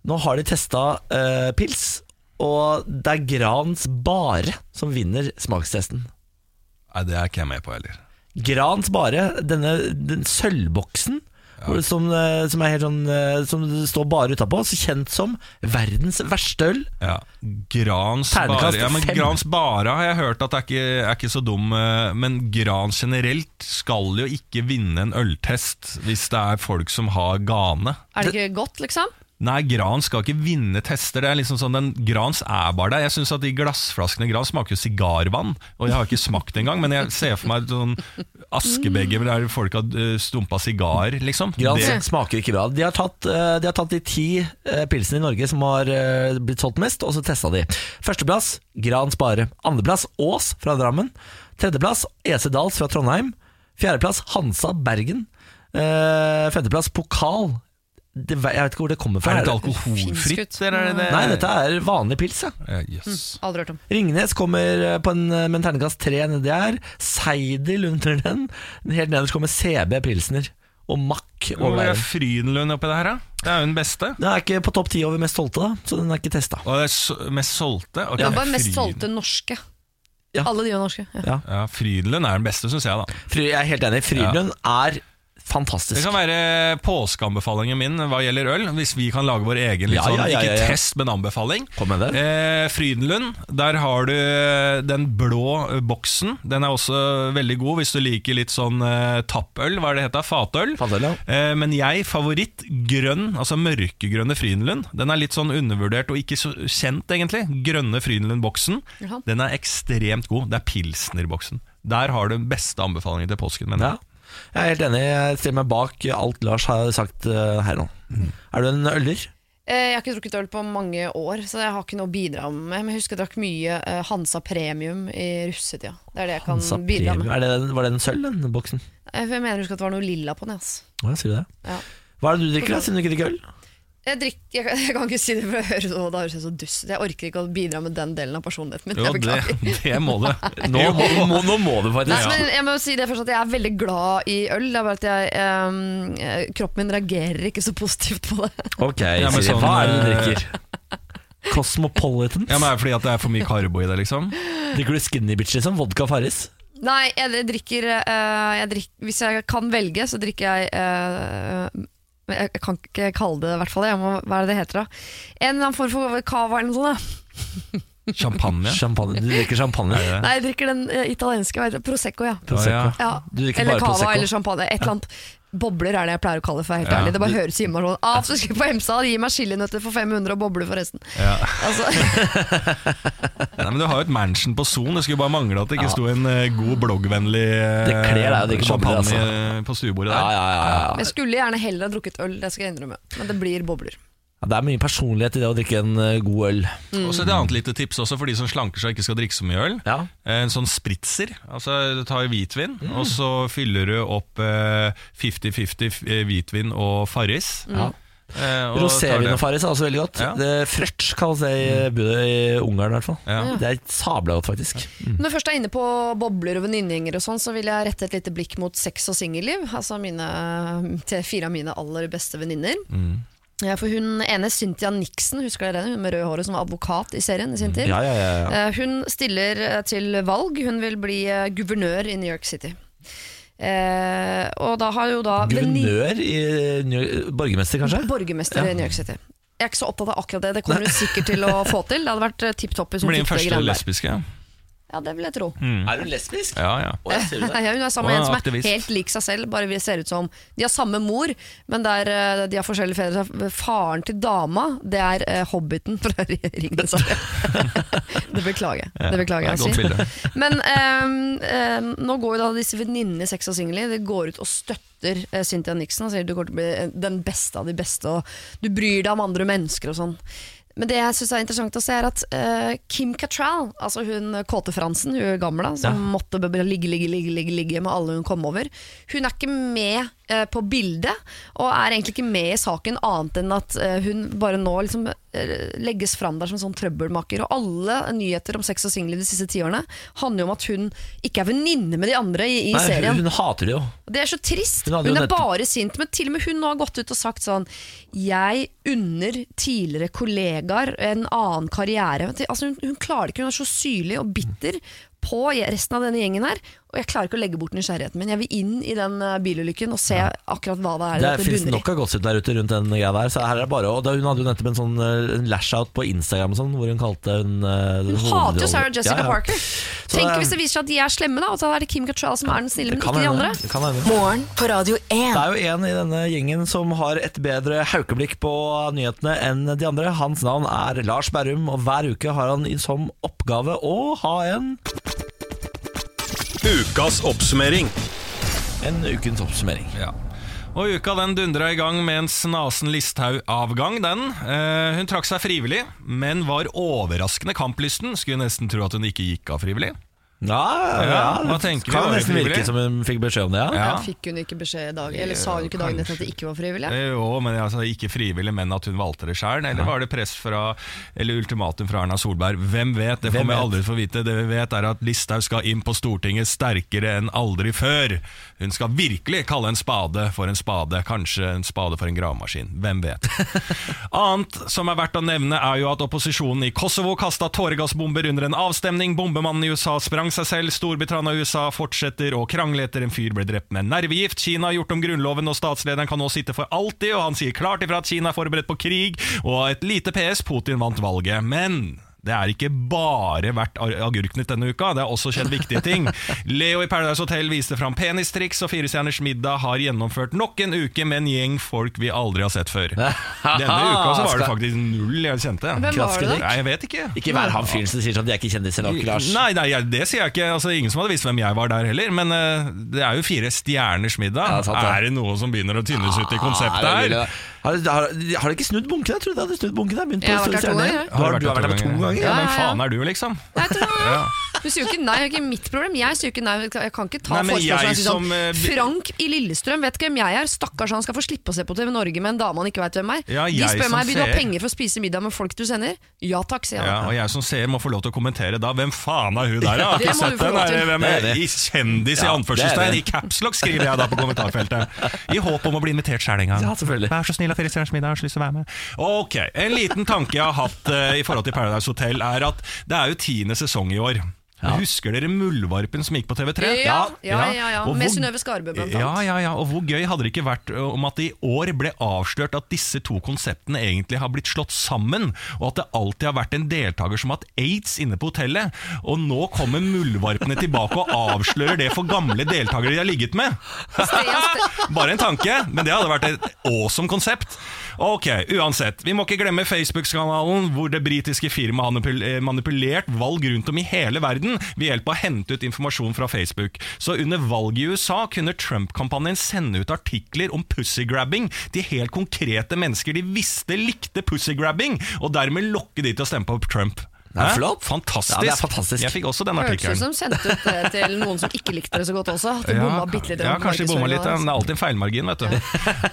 Speaker 1: Nå har de testa eh, pils, og det er Grans Bare som vinner smakstesten.
Speaker 2: Nei, det er ikke jeg med på heller.
Speaker 1: Grans Bare, denne den sølvboksen hvor- som, eh, som, er helt sånn, eh, som det står bare utapå, så kjent som verdens verste øl.
Speaker 2: Ja. Grans
Speaker 1: Ternekast
Speaker 2: bare ja, men
Speaker 1: fem.
Speaker 2: Grans bare har jeg hørt at er ikke, er ikke så dum, eh, men Grans generelt skal jo ikke vinne en øltest hvis det er folk som har gane.
Speaker 3: Er det ikke godt, liksom?
Speaker 2: Nei, Gran skal ikke vinne tester. Det er liksom sånn, den, Grans er bare der. Jeg synes at De glassflaskene Gran smaker jo sigarvann. Og Jeg har ikke smakt det engang, men jeg ser for meg et sånn askebeger der folk har eh, stumpa sigarer. Liksom.
Speaker 1: Grans
Speaker 2: Det,
Speaker 1: smaker ikke bra. De har tatt, eh, de, har tatt de ti eh, pilsene i Norge som har eh, blitt solgt mest, og så testa de. Førsteplass Grans Bare. Andreplass Ås fra Drammen. Tredjeplass EC Dals fra Trondheim. Fjerdeplass Hansa Bergen. Eh, Femteplass Pokal. Det, ve- jeg vet ikke hvor det kommer fra. Eh,
Speaker 2: er dette
Speaker 3: Finsk
Speaker 2: alkoholfritt?
Speaker 3: ut.
Speaker 2: Eller er det det?
Speaker 1: Nei, dette er vanlig pils. Ja.
Speaker 2: Eh, jøss.
Speaker 3: Aldri hørt om.
Speaker 1: Ringnes kommer eh, på en, med en terningkast tre nedi her. Seidel under den. Helt nederst kommer CB Pilsner. Og Mack
Speaker 2: Hvor
Speaker 1: over
Speaker 2: er
Speaker 1: der.
Speaker 2: Frydenlund oppi det her, da? Det er jo den beste.
Speaker 1: Den er ikke på topp ti over mest stolte, da, så den er ikke testa.
Speaker 2: Og det er s- mest solgte. Ok,
Speaker 3: Det er bare mest
Speaker 2: Fryden-
Speaker 3: solgte norske.
Speaker 1: Ja.
Speaker 3: Alle de er norske. Ja.
Speaker 2: Ja, Frydenlund er den beste, syns jeg. da
Speaker 1: Fry- Jeg er helt enig. Frydenlund er Fantastisk.
Speaker 2: Det kan være påskeanbefalingen min hva gjelder øl. Hvis vi kan lage vår egen litt
Speaker 1: Ja,
Speaker 2: sånn,
Speaker 1: ja, ja, ja, ja.
Speaker 2: ikke test, men anbefaling.
Speaker 1: Kom med det.
Speaker 2: Eh, Frydenlund, der har du den blå eh, boksen. Den er også veldig god hvis du liker litt sånn eh, tappøl, hva er det heter? Fatøl.
Speaker 1: Fatøl, ja.
Speaker 2: Eh, men jeg, favoritt, grønn, altså mørkegrønne Frydenlund. Den er litt sånn undervurdert og ikke så kjent, egentlig. Grønne Frydenlund-boksen.
Speaker 3: Jaha.
Speaker 2: Den er ekstremt god. Det er Pilsner-boksen. Der har du den beste anbefalingen til påsken, mener
Speaker 1: Ja.
Speaker 2: jeg.
Speaker 1: Jeg er helt enig. Jeg stiller meg bak alt Lars har sagt eh, her nå. Er du en øller?
Speaker 3: Eh, Jeg har ikke drukket øl på mange år, så jeg har ikke noe å bidra med. Men jeg husker jeg drakk mye eh, Hansa Premium i russetida. Det er det jeg kan
Speaker 1: Hansa
Speaker 3: bidra
Speaker 1: Premium.
Speaker 3: med.
Speaker 1: Er det, den- var det en sølv, den boksen?
Speaker 3: Eh, for Jeg mener jeg husker at det var noe lilla på den. ass.
Speaker 1: Å, ja, sier du det?
Speaker 3: Ja.
Speaker 1: Hva er det du drikker, da, siden du ikke drikker øl?
Speaker 3: Jeg, drikk, jeg, kan- jeg kan ikke si det, for jeg hører, å, da høres jeg så dust ut. Jeg orker ikke å bidra med den delen av personligheten min.
Speaker 2: Jo,
Speaker 3: Jeg
Speaker 2: det,
Speaker 3: beklager.
Speaker 2: det må du.
Speaker 1: Nå må, må, nå må du faktisk.
Speaker 3: Nei, men jeg må jo si det først at jeg er veldig glad i øl. Det er bare at jeg, ehm, eh, kroppen min reagerer ikke så positivt på det.
Speaker 1: Ok,
Speaker 2: Ja, men
Speaker 1: Siri,
Speaker 2: sånn,
Speaker 1: hva er det du
Speaker 2: eh,
Speaker 1: drikker? Cosmopolitans?
Speaker 2: Ja, men er det fordi at det er for mye karbo i det, liksom?
Speaker 1: drikker du skinny bitch, liksom? Vodka Farris?
Speaker 3: Nei, jeg drikker, eh, jeg drikk- Hvis jeg kan velge, så drikker jeg eh, men Jeg kan ikke kalle det i hvert fall. Jeg må, hva er det det heter da? En eller annen form for cava eller noe sånt. da.
Speaker 2: Champagne?
Speaker 1: Champagne. Du drikker champagne?
Speaker 3: Nei, jeg drikker den eh, italienske. Hva heter det? Prosecco, ja.
Speaker 1: Prosecco.
Speaker 2: Ja,
Speaker 3: ja.
Speaker 1: Du drikker
Speaker 3: eller
Speaker 1: bare
Speaker 3: cava
Speaker 1: Prosecco.
Speaker 3: eller champagne. Et eller annet. Bobler er det jeg pleier å kalle det, for jeg er helt
Speaker 2: Ja.
Speaker 3: ærlig. Det bare høres hjemme sånn ah, så skal jeg på Hemsedal, gi meg chilinøtter for 500 og bobler for resten.
Speaker 2: Ja.
Speaker 3: Altså,
Speaker 2: Nei, men Du har jo et mansion på Son. Det skulle bare mangle at det ikke sto en eh, god bloggvennlig eh,
Speaker 1: Det kler deg å drikke
Speaker 2: champagne
Speaker 1: bobler, altså.
Speaker 2: eh, på stuebordet
Speaker 1: Ja,
Speaker 2: der.
Speaker 1: ja, ja, ja.
Speaker 3: jeg skulle gjerne heller ha drukket øl, det skal jeg innrømme. Men det blir bobler.
Speaker 1: Ja, Det er mye personlighet i det å drikke en eh, god øl.
Speaker 2: Og så Et annet lite tips også for de som slanker seg og ikke skal drikke så mye øl.
Speaker 1: Ja.
Speaker 2: Eh, En sånn spritzer. Altså, du tar hvitvin,
Speaker 1: Mm.
Speaker 2: og så fyller du opp eh, 50-50 f- eh, hvitvin og Farris.
Speaker 1: Ja.
Speaker 2: Eh, og tar
Speaker 1: Rosévin
Speaker 2: det.
Speaker 1: Mm. og Farris er også veldig godt.
Speaker 2: Ja.
Speaker 1: Det Frøtsj kalles det i budet i Ungarn, i hvert fall.
Speaker 2: Ja.
Speaker 1: Det er sabla godt, faktisk.
Speaker 3: Når jeg først er inne på bobler og venninnegjengere og sånn, så vil jeg rette et lite blikk mot sex og singelliv. Altså mine, til fire av mine aller beste venninner.
Speaker 1: Mm.
Speaker 3: Ja, For hun ene, Cynthia Nixon, husker dere henne? Hun med røde håret som var advokat i serien i sin tid.
Speaker 1: Mm. Ja, ja, ja, ja.
Speaker 3: Eh, Hun stiller eh, til valg. Hun vil bli eh, guvernør i New York City. Eh, og da har jo da vennin-
Speaker 1: Guvernør i New- Borgermester, kanskje?
Speaker 3: Borgermester i New York City. Jeg er ikke så opptatt av akkurat det. Det kommer hun sikkert til å få til. Det hadde vært eh, tipp topp hvis hun
Speaker 2: Blir den
Speaker 3: fikk det
Speaker 2: første
Speaker 3: greiene der.
Speaker 2: lesbiske.
Speaker 3: Ja, det vil jeg tro.
Speaker 1: Er hun lesbisk?
Speaker 2: Ja, ja.
Speaker 1: Å, jeg ser det.
Speaker 3: Ja, hun er sammen
Speaker 2: Og
Speaker 3: med en som er
Speaker 2: aktivist.
Speaker 3: helt lik seg selv, bare vi ser ut som De har samme mor, men der, eh, de har forskjellige fedre. Faren til dama, det er eh, Hobbiten fra Ringenes herre. det beklager jeg. Det beklager
Speaker 2: Ja,
Speaker 3: jeg.
Speaker 2: det er et godt
Speaker 3: Astrid. Men eh, eh, nå går jo da disse venninnene i Sex og Singly De går ut og støtter eh, Cynthia Nixon og sier du kommer til å bli eh, den beste av de beste, og du bryr deg om andre mennesker og sånn. Men det jeg synes er interessant å se, er at eh, Kim Cattrall, altså hun eh, kåte Fransen, hun gamla, som måtte b- b- ligge, ligge, ligge, ligge, ligge med alle hun kom over, hun er ikke med eh, på bildet, og er egentlig ikke med i saken annet enn at eh, hun bare nå liksom eh, legges fram der som sånn trøbbelmaker. Og alle nyheter om sex og singelliv de siste tiårene handler jo om at hun ikke er venninne med de andre i, i
Speaker 1: Nei, hun,
Speaker 3: serien.
Speaker 1: hun hater det jo.
Speaker 3: Det er så trist.
Speaker 1: Hun hadde
Speaker 3: Hun,
Speaker 1: jo
Speaker 3: er
Speaker 1: nettopp-
Speaker 3: bare sint. Men til og med hun nå har gått ut og sagt sånn Jeg unner tidligere kollegaer en annen karriere. Altså hun, hun klarer det ikke. Hun er så syrlig og bitter på resten av denne gjengen her. Og jeg klarer ikke å legge bort nysgjerrigheten min. Jeg vil inn i den eh, bilulykken og se akkurat hva det
Speaker 1: Det
Speaker 3: er dette
Speaker 1: fins
Speaker 3: bunner i.
Speaker 1: nok av gossip der ute rundt den greia der. Så her er det bare, og da, hun hadde jo nettopp en sånn eh, en lash-out på Instagram og sånn, hvor hun kalte hun eh, Hun
Speaker 3: Hun hater jo Sarah Jessica Parker.
Speaker 1: det
Speaker 3: Tenk
Speaker 1: er-
Speaker 3: hvis det viser seg at de er slemme, da. Og så er det Kim Cattrall som er den snille, men ikke de andre.
Speaker 1: Det kan hende.
Speaker 4: Morgen på Radio
Speaker 1: Det
Speaker 4: 1.
Speaker 1: er jo en i denne gjengen som har et bedre haukeblikk på nyhetene enn de andre. Hans navn er Lars Berrum, og hver uke har han i som oppgave å ha en
Speaker 6: Ukas oppsummering.
Speaker 1: en ukens oppsummering.
Speaker 2: Ja. Og uka den dundra i gang med en snasen Listhaug-avgang, den. Eh, hun trakk seg frivillig, men var overraskende kamplysten. Skulle nesten tro at hun ikke gikk av frivillig.
Speaker 1: Ja,
Speaker 2: Ja, hva
Speaker 1: det
Speaker 2: tenker vi?
Speaker 1: kan
Speaker 2: Var det
Speaker 1: nesten virke
Speaker 2: frivillig?
Speaker 1: som hun fikk beskjed om det. Ja.
Speaker 3: Ja.
Speaker 2: Ja.
Speaker 3: Fikk hun ikke beskjed i dag? Eller sa hun ikke dagen etter at det ikke var frivillig?
Speaker 2: Eh, Jo, men altså, ikke frivillig, men at hun valgte det sjøl. Eller var det press fra, eller ultimatum fra Erna Solberg? Hvem vet? Det
Speaker 1: Hvem
Speaker 2: får vi
Speaker 1: vet?
Speaker 2: aldri få vite. Det vi vet, er at Listhaug skal inn på Stortinget sterkere enn aldri før. Hun skal virkelig kalle en spade for en spade. Kanskje en spade for en gravemaskin. Hvem vet? Annet som er verdt å nevne, er jo at opposisjonen i Kosovo kasta tåregassbomber under en avstemning. Bombemannen i USA sprang seg selv. Storbritannia og USA fortsetter å krangle etter en fyr ble drept med nervegift. Kina har gjort om grunnloven, og statslederen kan nå sitte for alltid. Og han sier klart ifra at Kina er forberedt på krig. Og et lite PS, Putin vant valget. Men det er ikke bare vært ar- agurknytt denne uka, det har også skjedd viktige ting. Leo i Paradise Hotel viste fram penistriks, og Firestjerners middag har gjennomført nok en uke med en gjeng folk vi aldri har sett før. Denne uka så var det faktisk null jeg kjente.
Speaker 3: Hvem var det da?
Speaker 2: Nei, jeg vet ikke.
Speaker 1: Ikke vær han fyren som sier sånn, de er ikke kjendiser nok, Lars.
Speaker 2: Nei, nei, jeg- det sier jeg ikke. Altså, ingen som hadde visst hvem jeg var der heller. Men eh, det er jo fire stjerners middag.
Speaker 1: Ja, sant det.
Speaker 2: Er det noe som begynner å tynnes ut i konseptet
Speaker 1: Ah, det er
Speaker 2: her?
Speaker 1: mulig, da. Har, har, har de ikke snudd bunkene? Jeg trodde de hadde snudd bunkene. Begynt
Speaker 3: Jeg
Speaker 1: på
Speaker 3: har vært der to
Speaker 1: Stjerne.
Speaker 3: ganger, jeg.
Speaker 1: Du har, du har vært der to ganger? Ja.
Speaker 2: Ja, men
Speaker 3: Ja, ja, ja.
Speaker 2: faen er du, liksom?
Speaker 3: Nei, vet du hva?
Speaker 2: Ja.
Speaker 3: Du sier jo ikke nei, det er ikke mitt problem. Jeg sier jo ikke nei. Jeg kan ikke ta
Speaker 2: Nei, men
Speaker 3: forespørselen.
Speaker 2: jeg
Speaker 3: Jeg synes sånn,
Speaker 2: som, eh, bi-
Speaker 3: Frank i Lillestrøm, vet ikke hvem jeg er. Stakkars han skal få slippe å se på TV Norge med en dame han ikke veit hvem er.
Speaker 2: Ja,
Speaker 3: De
Speaker 2: jeg
Speaker 3: spør
Speaker 2: som
Speaker 3: meg vil du ha
Speaker 2: ser.
Speaker 3: penger for å spise middag med folk du sender. Ja takk, sier
Speaker 2: Ja,
Speaker 3: han.
Speaker 2: og jeg som ser må få lov til å kommentere da Hvem faen er hun der? Jeg har
Speaker 3: Det
Speaker 2: ikke
Speaker 3: må du
Speaker 2: sett
Speaker 3: få
Speaker 2: den
Speaker 3: lov til.
Speaker 2: der, Hvem er
Speaker 1: Det er
Speaker 2: i kjendis i
Speaker 1: Ja, det er
Speaker 2: anførselstegn?
Speaker 1: det.
Speaker 2: I capslock skriver jeg da på kommentarfeltet I håp om å bli invitert selv en gang
Speaker 1: Ja, selvfølgelig.
Speaker 2: Vær så snill av Firestjerners middag, jeg har så lyst til å være med Ok, en liten tanke jeg har hatt eh, i forhold til Paradise Hotel Er at det er jo tiende sesong i år Husker dere muldvarpen som gikk på TV3?
Speaker 3: Ja, ja, ja, ja.
Speaker 2: Og
Speaker 3: Med
Speaker 2: hvor-
Speaker 3: Synnøve Skarbe, blant
Speaker 2: Ja,
Speaker 3: annet.
Speaker 2: ja, ja, og hvor gøy hadde det ikke vært ø, om at det i år ble avslørt at disse to konseptene egentlig har blitt slått sammen, og at det alltid har vært en deltaker som har hatt aids inne på hotellet, og nå kommer muldvarpene tilbake og avslører det for gamle deltakere de har ligget med. Bare en tanke, men det hadde vært et awesome konsept. Ok, uansett, vi må ikke glemme Facebook-kanalen hvor det britiske firmaet har manipul- eh, manipulert valg rundt om i hele verden ved hjelp av å hente ut informasjon fra Facebook. Så under valget i USA kunne Trump-kampanjen sende ut artikler om pussygrabbing til helt konkrete mennesker de visste likte pussygrabbing, og dermed lokke de til å stemme på Trump.
Speaker 1: Det er
Speaker 2: Hæ?
Speaker 1: flott.
Speaker 2: Fantastisk.
Speaker 1: Ja, det er fantastisk.
Speaker 2: Jeg fikk også den
Speaker 3: Hørtes
Speaker 2: artikkelen.
Speaker 3: ut som sendte ut det til noen som ikke likte det så godt også. At de bomma bitte litt.
Speaker 2: Ja,
Speaker 3: med
Speaker 2: kanskje de bomma litt, ja,
Speaker 3: markedsføringen
Speaker 2: men det er alltid en feilmargin, vet du.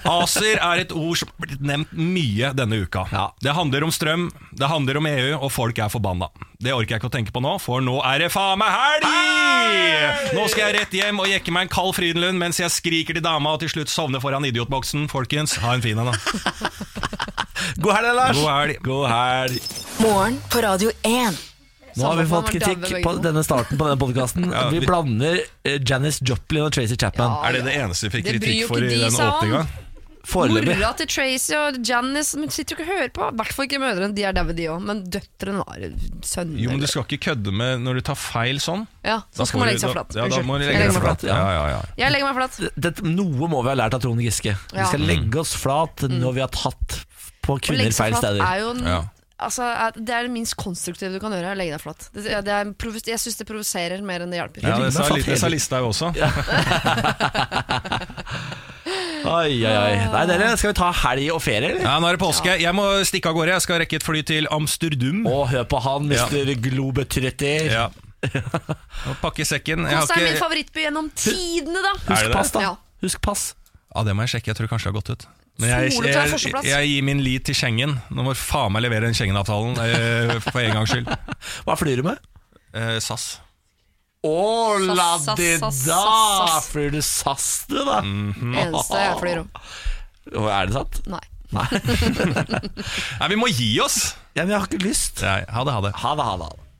Speaker 2: ACER er et ord som har blitt nevnt mye denne uka.
Speaker 1: Ja.
Speaker 2: Det handler om strøm, det handler om EU, og folk er forbanna. Det orker jeg ikke å tenke på nå, for nå er det faen meg helg! Nå skal jeg rett hjem og jekke meg en kald Frydenlund mens jeg skriker til dama og til slutt sovner foran idiotboksen. Folkens, ha en fin en, da.
Speaker 1: God helg, Lars!
Speaker 2: God helg.
Speaker 1: God helg.
Speaker 4: Morgen på Radio 1.
Speaker 1: Nå har vi
Speaker 3: Samme
Speaker 1: fått
Speaker 3: faen,
Speaker 1: kritikk
Speaker 3: dammer begge
Speaker 1: på
Speaker 3: to.
Speaker 1: denne starten på denne podkasten.
Speaker 2: Ja,
Speaker 1: Vi
Speaker 2: vi-
Speaker 1: blander eh, Janis Joplin og Tracy Chapman.
Speaker 3: Ja,
Speaker 2: Er det det eneste vi fikk
Speaker 3: Det bryr
Speaker 2: kritikk
Speaker 3: jo
Speaker 2: for
Speaker 3: ikke
Speaker 2: i
Speaker 3: de,
Speaker 2: den
Speaker 3: sa han.
Speaker 2: åpninga?
Speaker 1: Foreløpig.
Speaker 3: Mora til Tracy og Janice men sitter jo ikke og hører på. I hvert fall ikke mødrene, de er daue, de òg. Men døtrene har sønner.
Speaker 2: Jo, men du skal ikke kødde med når du tar feil sånn.
Speaker 3: Ja, så skal man legge seg flat.
Speaker 2: Ja, da
Speaker 3: Unnskyld.
Speaker 2: må du
Speaker 3: Jeg
Speaker 2: legge deg flat.
Speaker 1: ja.
Speaker 2: Ja, ja, ja.
Speaker 3: Jeg legger meg flat.
Speaker 1: det, noe må vi ha lært av Trond Giske. Vi
Speaker 3: Ja. Mm.
Speaker 1: skal legge oss flat når vi har tatt på
Speaker 3: Å
Speaker 1: kvinner
Speaker 3: legge seg
Speaker 1: feil
Speaker 3: flat
Speaker 1: steder.
Speaker 3: er jo en,
Speaker 2: Ja.
Speaker 3: altså, er, det er det minst konstruktive du kan gjøre. å Legge deg flat. Det, det er, provo- jeg syns det provoserer mer enn det hjelper.
Speaker 2: Ja,
Speaker 1: ligger meg
Speaker 2: det sa,
Speaker 1: flat
Speaker 2: litt, det sa
Speaker 1: hele-
Speaker 2: Listhaug også.
Speaker 1: Oi, oi, oi. Nei, dere, skal vi ta helg og ferie, eller?
Speaker 2: Ja, Nå er det påske. Jeg må stikke av gårde. Jeg skal rekke et fly til Amsterdam.
Speaker 1: Og hør på han,
Speaker 2: Ja.
Speaker 1: mister globetrotter.
Speaker 2: Ja. Og pakke sekken. Jeg har
Speaker 3: Kos Altså, er min
Speaker 2: ikke...
Speaker 3: favorittby gjennom tidene, da.
Speaker 2: Er det
Speaker 1: Husk pass, da.
Speaker 3: Ja.
Speaker 1: Husk pass.
Speaker 2: Ja, det må jeg sjekke. Jeg tror kanskje det har gått ut. Men jeg,
Speaker 3: Solet
Speaker 2: jeg,
Speaker 3: tar
Speaker 2: jeg,
Speaker 3: førsteplass.
Speaker 2: gir min lit til Schengen. Nå må du faen meg levere den Schengen-avtalen eh, for en gangs skyld.
Speaker 1: Hva flyr du med?
Speaker 2: Eh, SAS.
Speaker 1: Å, la
Speaker 3: Sass, sass,
Speaker 1: det
Speaker 3: sass,
Speaker 1: da! Mm.
Speaker 3: sass.
Speaker 1: Flyr du SAS, du, da?
Speaker 3: Eneste jeg flyr om.
Speaker 1: Å, Er det sant?
Speaker 3: Nei.
Speaker 1: Nei.
Speaker 2: Nei, vi må gi oss!
Speaker 1: Ja, men jeg har ikke lyst.
Speaker 2: Nei, ha det, ha det.
Speaker 1: Ha det, ha det. Ha det.